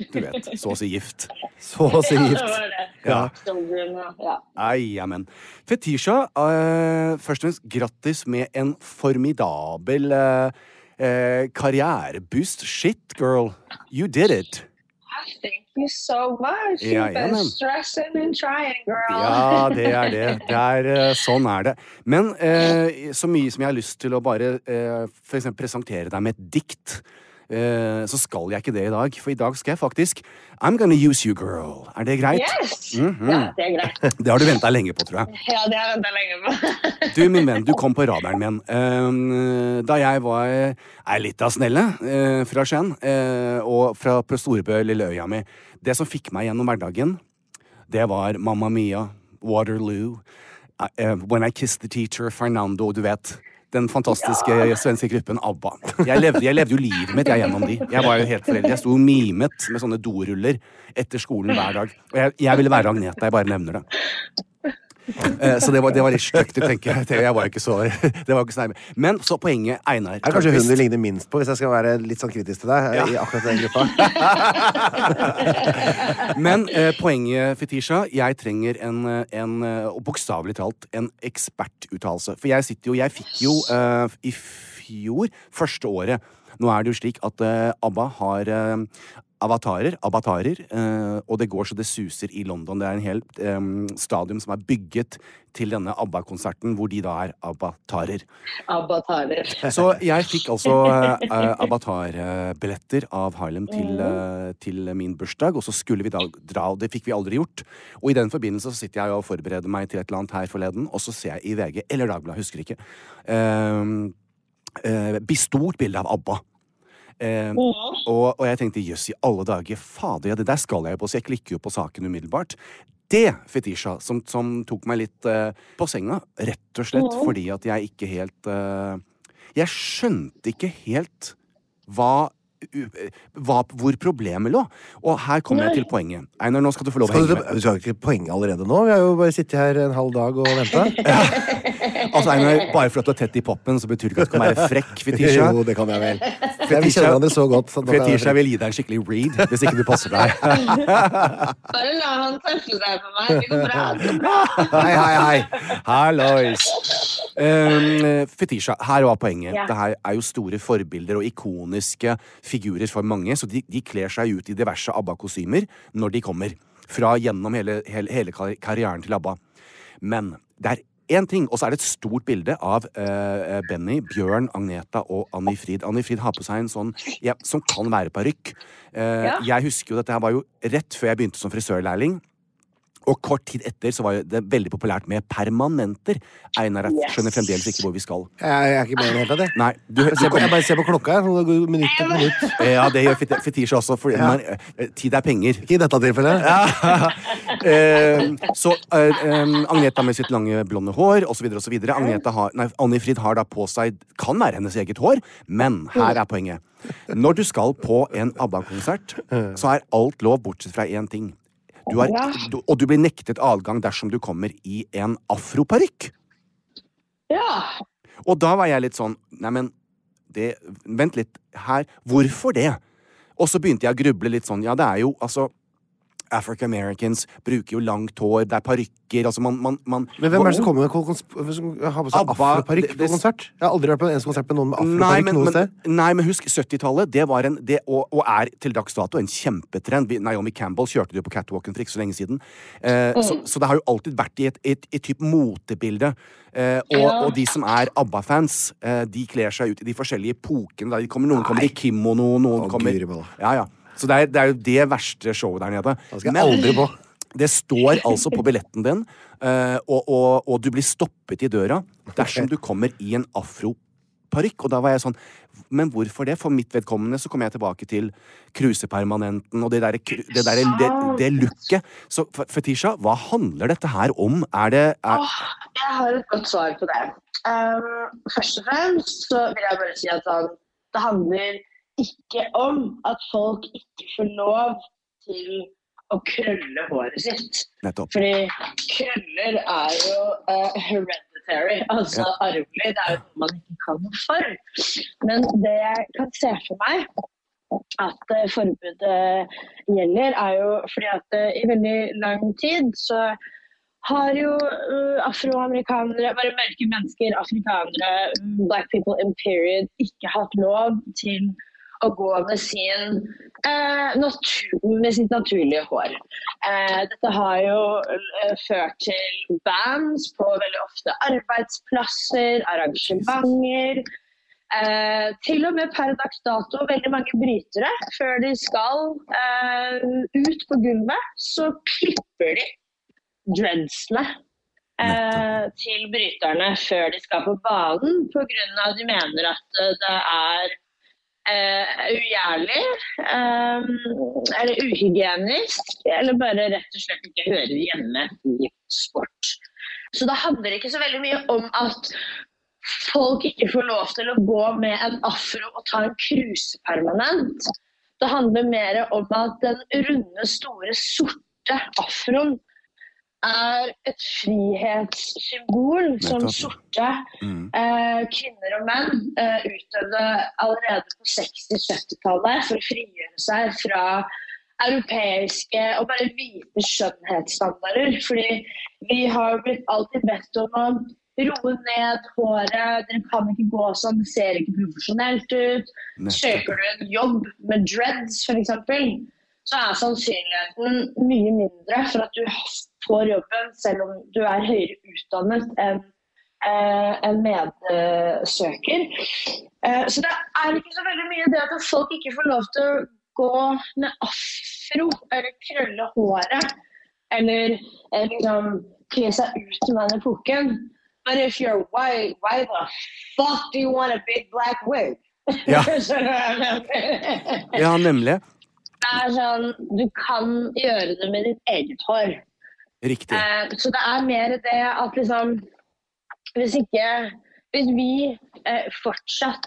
S3: du vet, så å si gift.
S4: Så å si
S5: det
S4: gift.
S5: var det.
S3: Ja.
S5: Children, ja. ja.
S3: Nei, amen. Fetisha, eh, først og fremst grattis med en formidabel eh, eh, karriereboost. Shit, girl. You did it.
S5: Thank you so much.
S3: Ja,
S5: You've
S3: ja,
S5: been
S3: ma'am.
S5: stressing and trying, girl.
S3: Ja, det er det. det er, eh, sånn er det. Men eh, så mye som jeg har lyst til å bare eh, for eksempel presentere deg med et dikt, eh, så skal jeg ikke det i dag. For i dag skal jeg faktisk I'm gonna use you, girl. Er det greit?
S5: Yes!
S3: Mhm.
S5: Ja, det er greit.
S3: Det har du venta lenge på, tror jeg.
S5: Ja, det har jeg venta lenge på.
S3: Du, min venn, du kom på radaren min. Eh, da jeg var ei lita snelle eh, fra Skien, eh, og fra på Storebø, lille øya mi Det som fikk meg gjennom hverdagen, det var Mamma Mia, Waterloo, eh, When I Kissed the Teacher, Fernando, du vet. Den fantastiske svenske gruppen ABBA. Jeg levde, jeg levde jo livet mitt jeg gjennom de. Jeg var jo helt foreldet. Jeg sto og mimet med sånne doruller etter skolen hver dag. Og jeg, jeg ville være Agneta, jeg bare nevner det. Eh, Så det var, det var litt stygt å tenke. Jeg var jo ikke så, det var jo ikke så nærme. Men så poenget, Einar.
S4: Det er kanskje hun du ligner minst på, hvis jeg skal være litt sånn kritisk til deg. eh, i akkurat den gruppa.
S3: Men eh, poenget, Fetisha, jeg trenger en, eh, en eh, og bokstavelig talt, en ekspertuttalelse. Altså, For jeg sitter jo Jeg fikk jo eh, i fjor, første året Nå er det jo slik at eh, ABBA har eh, avatarer, abatarer, eh, og det går så det suser i London. Det er en hel eh, stadium som er bygget til denne ABBA-konserten, hvor de da er abatarer.
S5: Abatarer.
S3: Så jeg fikk altså uh, Avatar-billetter av Harlem til, eh, til min bursdag, og så skulle vi da dra, og det fikk vi aldri gjort. Og i den forbindelse så sitter jeg og forbereder meg til et eller annet her forleden, og så ser jeg i VG, eller Dagbladet, husker ikke, eh, eh, bestort bilde av ABBA. Eh, og, og jeg tenkte jøss i alle dager, fader, ja, det der skal jeg jo på, så jeg klikker jo på saken umiddelbart. Det, Fetisha, som, som tok meg litt eh, på senga, rett og slett fordi at jeg ikke helt eh, Jeg skjønte ikke helt hva, u- eh, hva hvor problemet lå. Og her kommer jeg til poenget. Einar, nå skal du få lov å
S4: Skal
S3: henge
S4: du,
S3: med.
S4: du skal ikke poeng allerede nå? Vi har jo bare sittet her en halv dag og venta.
S3: Altså, Einar, bare for at du er tett i poppen, så betyr det ikke at du kan være frekk, Fetisha.
S4: Jo, det kan jeg vel. Vi kjenner hverandre så godt. så nå kan jeg være
S3: Fetisha
S4: fri.
S3: vil gi deg en skikkelig read hvis ikke du passer deg.
S5: Bare la han tøffe seg på meg. Det går bra. Det går bra.
S3: Hei, hei, hei. Hallois. Um, Fetisha, her var poenget.
S5: Ja.
S3: Det her er jo store forbilder og ikoniske figurer for mange, så de, de kler seg ut i diverse ABBA-kostymer når de kommer. Fra gjennom hele, hele, hele kar- karrieren til ABBA. Men det er én ting, og så er det et stort bilde av eh, Benny, Bjørn, Agneta og Anni Frid. Anni Frid har på seg en sånn ja, som kan være parykk. Eh,
S5: Ja.
S3: Jeg husker jo dette her var jo rett før jeg begynte som frisørlærling. Og kort tid etter så var jo det veldig populært med permanenter. Einar jeg
S5: Yes.
S3: skjønner fremdeles ikke hvor vi skal.
S4: Jeg jeg er ikke med i det hele tatt, jeg.
S3: Nei, du,
S4: Jeg
S3: du
S4: ser på-
S3: kommer
S4: Jeg bare ser på klokka. her, sånn at det går Minutt etter minutt.
S3: Ja, det gjør Fet- Fetisha også, for man, eh, tid er penger.
S4: Ikke i dette tilfellet.
S3: Eh, så eh, eh, Agneta med sitt lange, blonde hår osv. osv. Anni Frid har da på seg Kan være hennes eget hår, men her er poenget. Når du skal på en ABBA-konsert,
S4: Mm.
S3: så er alt lov bortsett fra én ting. Du har, du, og du blir nektet adgang dersom du kommer i en afroparykk.
S5: Ja.
S3: Og da var jeg litt sånn Neimen, det Vent litt her. Hvorfor det? Og så begynte jeg å gruble litt sånn. Ja, det er jo altså African Americans bruker jo langt hår, det er parykker altså man, man, man
S4: Men hvem er det som kommer med kol- kons- som har på seg
S3: Abba,
S4: afroparykk
S3: det-
S4: på
S3: det-
S4: konsert? Jeg har aldri vært på en eneste konsert med noen med
S3: Nei
S4: afroparykk
S3: men,
S4: noe
S3: men,
S4: sted.
S3: nei, men husk, 70-tallet det var en det, og, og er til dags dato en kjempetrend. Vi- Naomi Campbell kjørte det jo på catwalken for ikke så lenge siden. Eh, så, så det har jo alltid vært i et, et, et type motebilde. Eh, og, og de som er ABBA-fans, eh, de kler seg ut i de forskjellige epokene. der De kommer, noen kommer i kimono, noen
S4: Å,
S3: kommer
S4: guri malla.
S3: ja, ja. Så det er, det er jo det verste showet der nede.
S4: Da skal jeg aldri på.
S3: Det står altså på billetten din, eh, og, og, og du blir stoppet i døra dersom du kommer i en afroparykk. Og da var jeg sånn Men hvorfor det? For mitt vedkommende så kom jeg tilbake til krusepermanenten og det derre kru- det, derre- det, det looket. Så F- Fetisha, hva handler dette her om? Er det er,
S5: Åh, jeg har et godt svar på det. Um, først og fremst så vil jeg bare si at han, det handler ikke om at folk ikke får lov til å krølle håret sitt.
S3: Nettopp.
S5: Fordi krøller er jo eh, hereditary hereditary, altså arvelig. Det er jo noe man ikke kan noe for. Men det jeg kan se for meg at eh, forbudet gjelder, er jo fordi at eh, i veldig lang tid så har jo eh, afroamerikanere, bare mørke mennesker, afrikanere, mm, black people in period, ikke hatt lov til å gå med, sin, eh, natur, med sitt naturlige hår. Eh, dette har jo eh, ført til bands på veldig ofte arbeidsplasser, arrangementer. Eh, til og med per dags dato veldig mange brytere. Før de skal eh, ut på gulvet, så klipper de dreadsene eh, til bryterne før de skal på banen, pga. de mener at eh, det er eh, ugjærlig, eh, eller uhygienisk, eller bare rett og slett ikke hører hjemme i sport. Så det handler ikke så veldig mye om at folk ikke får lov til å gå med en afro og ta en kruse permanent. Det handler mer om at den runde, store, sorte afroen er et frihetssymbol som
S3: Nettopp.
S5: sorte eh, kvinner og menn eh, utøvde allerede på 60-70-tallet for å frigjøre seg fra europeiske og bare hvite skjønnhetsstandarder. Fordi vi har jo blitt alltid bedt om å roe ned håret, dere kan ikke gå sånn, det ser ikke profesjonelt ut. Søker du en jobb med dreads f.eks., så er sannsynligheten mye mindre for at du får jobben selv om du er høyere utdannet enn eh, en medsøker. Eh, så det er ikke så veldig mye det at folk ikke får lov til å gå med afro eller krølle håret eller eh, liksom kle seg ut som den epoken. But if you're white, why the fuck do you want a big black wig?
S3: Ja.
S5: Skjønner du hva jeg mener?
S3: Ja, nemlig.
S5: Det er sånn, du kan gjøre det med ditt eget hår.
S3: Riktig.
S5: Eh, så det er mer det at liksom Hvis ikke Hvis vi eh, fortsatt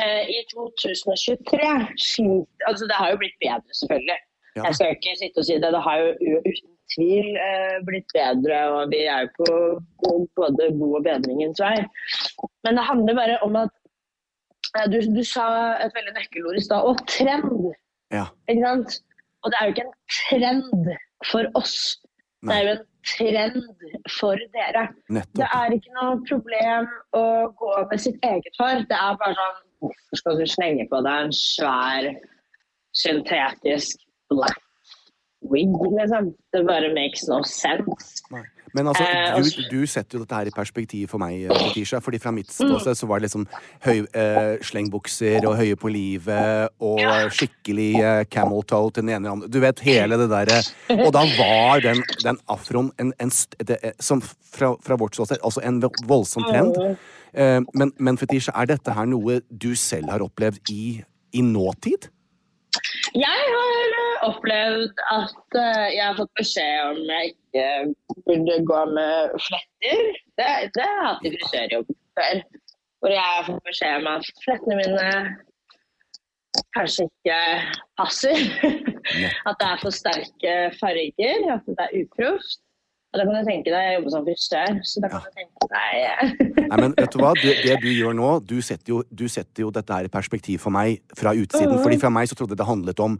S5: eh, i 2023 sliter Altså, det har jo blitt bedre, selvfølgelig.
S3: Ja.
S5: Jeg skal ikke sitte og si det. Det har jo u- uten tvil eh, blitt bedre, og vi er jo på god- både god og bedringens vei. Men det handler bare om at eh, du, du sa et veldig nøkkelord i stad, og trend.
S3: Ja.
S5: Ikke sant? Og det er jo ikke en trend for oss. Det er jo en trend for dere. Det
S3: Nettopp.
S5: er ikke noe problem å gå med sitt eget hår. Det er bare sånn Hvorfor skal du slenge på deg en svær syntetisk black wig, liksom? Det bare makes no sense.
S3: Nei. Men
S5: Eh,
S3: altså,
S5: altså-
S3: du, du setter jo dette her i perspektiv for meg, eh, Fetisha. Fordi fra mitt ståsted så var det liksom høy, eh, slengbukser og høye på livet og skikkelig eh, camel toe til den ene eller andre. Du vet hele det derre Og da var den, den afroen en, en st det, eh, som fra, fra vårt ståsted altså en vo- voldsom trend. Eh, men, men Fetisha, er dette her noe du selv har opplevd i, i nåtid?
S5: Jeg har eh, opplevd at eh, jeg har fått beskjed om jeg ikke burde gå med fletter. Det, det har jeg hatt i frisørjobb før. Hvor jeg har fått beskjed om at flettene mine kanskje ikke passer. at det er for sterke farger, at det er uproft. Og da kan du tenke deg, jeg jobber som frisør, så da kan du tenke deg eh,
S3: Nei, men vet du hva? Det, det du gjør nå, du setter, jo, du setter jo dette her i perspektiv for meg fra utsiden. Fordi fra meg så trodde jeg det handlet om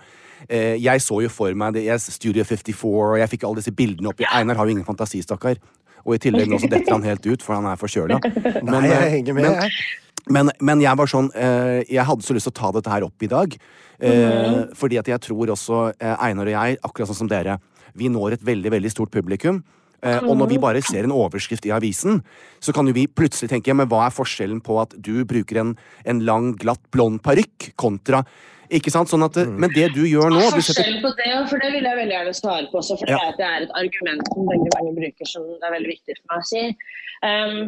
S3: eh, Jeg så jo for meg det, jeg, Studio 54, og jeg fikk alle disse bildene opp. Einar har jo ingen fantasi, stakkar. Og i tillegg nå så detter han helt ut, for han er forkjøla. Men,
S4: Nei, jeg
S3: eh,
S4: henger med,
S3: men-
S4: jeg.
S3: men, men jeg var sånn eh, Jeg hadde så lyst til å ta dette her opp i dag. Eh, Fordi at jeg tror også eh, Einar og jeg, akkurat sånn som dere, vi når et veldig veldig stort publikum. Eh, og når vi bare ser en overskrift i avisen, så kan jo vi plutselig tenke ja, men hva er forskjellen på at du bruker en, en lang, glatt, blond parykk kontra Ikke sant? Sånn at, eh, Men det du gjør nå du setter,
S5: Forskjellen på det, og for det vil jeg veldig gjerne svare på også, for
S3: Ja.
S5: det er- det er et argument som veldig mange bruker som det er veldig viktig for meg å si. Um,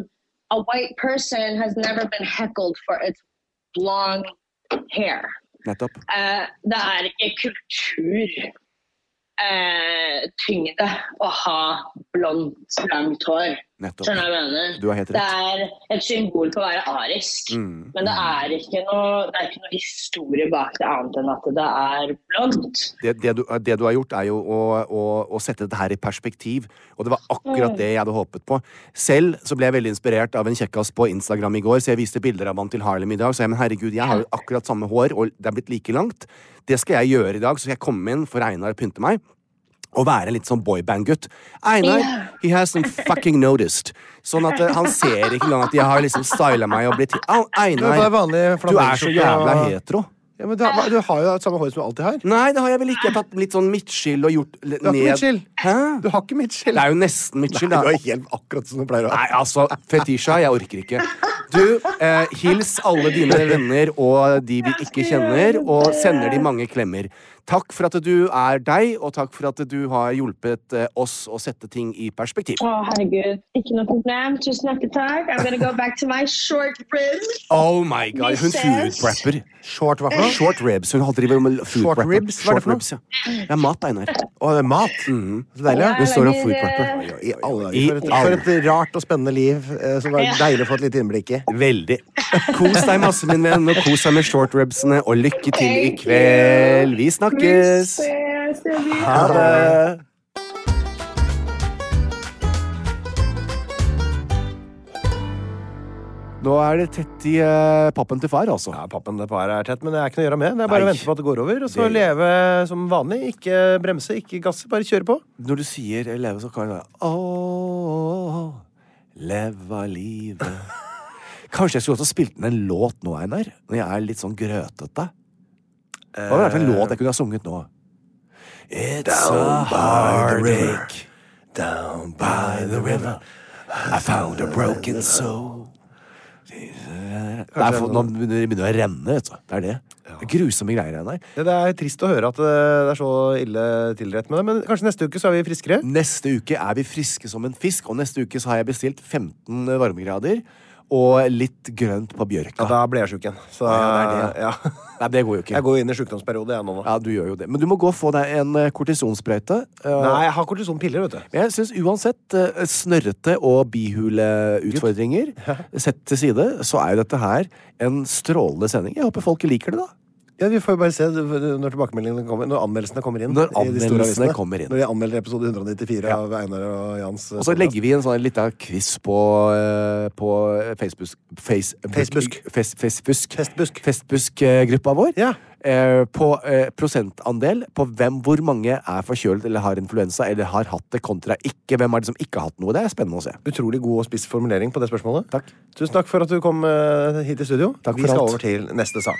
S5: a white person has never been heckled for its long hair.
S3: Nettopp.
S5: Eh, det er ikke kultur eh, tyngde å ha blondt, langt hår. Skjønner
S3: Nettopp.
S5: du hva jeg mener?
S3: Du har helt
S5: Det
S3: rett.
S5: er et symbol på å være arisk.
S3: Mm.
S5: Men det er, ikke noe, det er ikke noe historie bak det annet enn at det er blondt.
S3: Det, det, du, det du har gjort, er jo å, å, å sette dette her i perspektiv. Og det var akkurat det jeg hadde håpet på. Selv så ble jeg veldig inspirert av en kjekkas på Instagram i går, så jeg viste bilder av han til Harlem i dag. Så jeg, men herregud, jeg har jo akkurat samme hår, og det er blitt like langt. Det skal jeg gjøre i dag, så skal jeg komme inn for Einar og pynte meg. Og være litt sånn boyband-gutt. Einar, he hasn't fucking noticed. Sånn at eh, han ser ikke engang at jeg har liksom styla meg og blitt Au,
S4: Ja, det er
S3: Einar,
S4: vanlig
S3: du er så
S4: flanellskjorte
S3: jævla
S4: og-
S3: hetero.
S4: Ja, men du, har, du har jo samme hår som du alltid har.
S3: Nei, det har jeg vel ikke. Jeg har tatt litt sånn midtskill og gjort l-
S4: Du har ikke midtskill.
S3: Hæ?
S4: Du har ikke midtskill.
S3: Det er jo nesten midtskill, da.
S4: Nei, du er helt akkurat som du pleier å
S3: Nei,
S4: ha.
S3: altså, Fetisha, jeg orker ikke. Du, eh, hils alle dine venner og de vi ikke kjenner, og sender de mange klemmer. Takk for at du er deg, og takk for at du har hjulpet eh, oss å sette ting i perspektiv.
S5: Å, herregud. Ikke noe problem. Tusen hjertelig takk. I'm gonna go back to my short ribs.
S3: Oh my god, hun foodprepper.
S4: Short hva for noe?
S3: Short ribs. Hun driver med
S4: Short
S3: foodprepper.
S4: ribs, hva er det for noe?
S3: ja. Det er mat, Einar.
S4: Å, det er mat. Så deilig. ja.
S5: Jeg
S3: Hun står og
S5: lager,
S3: foodprepper.
S5: eh,
S4: I
S3: I
S4: alle dager. For et,
S3: alle.
S4: for et rart og spennende liv eh, som var deilig å få et lite innblikk i.
S3: Veldig. Kos deg masse, min venn, og kos deg med shortribsene, og lykke til i
S5: Thank you.
S3: kveld. Vi snakkes!
S5: ses, jeg vil.
S3: Ha det! Nå er det tett i eh, pappen til far, altså.
S4: Ja, pappen det paret er tett, men det er ikke noe å gjøre med. Det er bare
S3: Nei.
S4: å vente på at det går over, og så
S3: Det-
S4: leve som vanlig. Ikke bremse, ikke gasse, bare kjøre på.
S3: Når du sier eh, leve, så kan du Ååå, leva livet. Kanskje jeg skulle også spilt inn en låt nå, Einar? Når jeg er litt sånn grøtete. Hva var det
S4: Eh,
S3: for en låt jeg kunne ha sunget nå? It's a heartache down by the river. I found a broken soul. Det er for, nå begynner det begynner å renne, vet du. Det er det. Det er grusomme greier her. nei.
S4: Det er trist å høre at eh, det er så ille tilrett med det, men kanskje neste uke så er vi friskere?
S3: Neste uke er vi friske som en fisk, og neste uke så har jeg bestilt 15 varmegrader og litt grønt på bjørka.
S4: Ja, da ble jeg sjuk igjen. Så
S3: Ja, det er det,
S4: ja.
S3: Nei, det går jo ikke.
S4: Jeg går jo inn i sjukdomsperiode, jeg nå. da.
S3: Ja, du gjør jo det. Men du må gå og få deg en eh, kortisonsprøyte. eh,
S4: Nei, jeg har kortisonpiller, vet du.
S3: Men jeg syns uansett eh, snørrete og bihuleutfordringer sett til side, så er jo dette her en strålende sending. Jeg håper folk liker det, da.
S4: Ja, Vi får jo bare se når tilbakemeldingene kommer Når anmeldelsene kommer inn.
S3: Når
S4: i de store
S3: anmeldelsene
S4: avisene.
S3: kommer inn.
S4: Når de anmelder episode 194 av Einar og Jans.
S3: Og så legger vi en sånn lita quiz på, eh, på Facebook, face,
S4: Facebusk.
S3: Fes, fesbusk.
S4: eh, Festbusk.
S3: Festbusk-gruppa vår.
S4: Ja.
S3: Eh, på eh, prosentandel på hvem, hvor mange er forkjølet eller har influensa eller har hatt det, kontra ikke. Hvem er det som ikke har hatt noe? Det er spennende å se.
S4: Utrolig god og spiss formulering på det spørsmålet.
S3: Takk.
S4: Tusen takk for at du kom eh, hit i studio.
S3: Takk
S4: vi
S3: for
S4: skal
S3: alt.
S4: over til neste sak.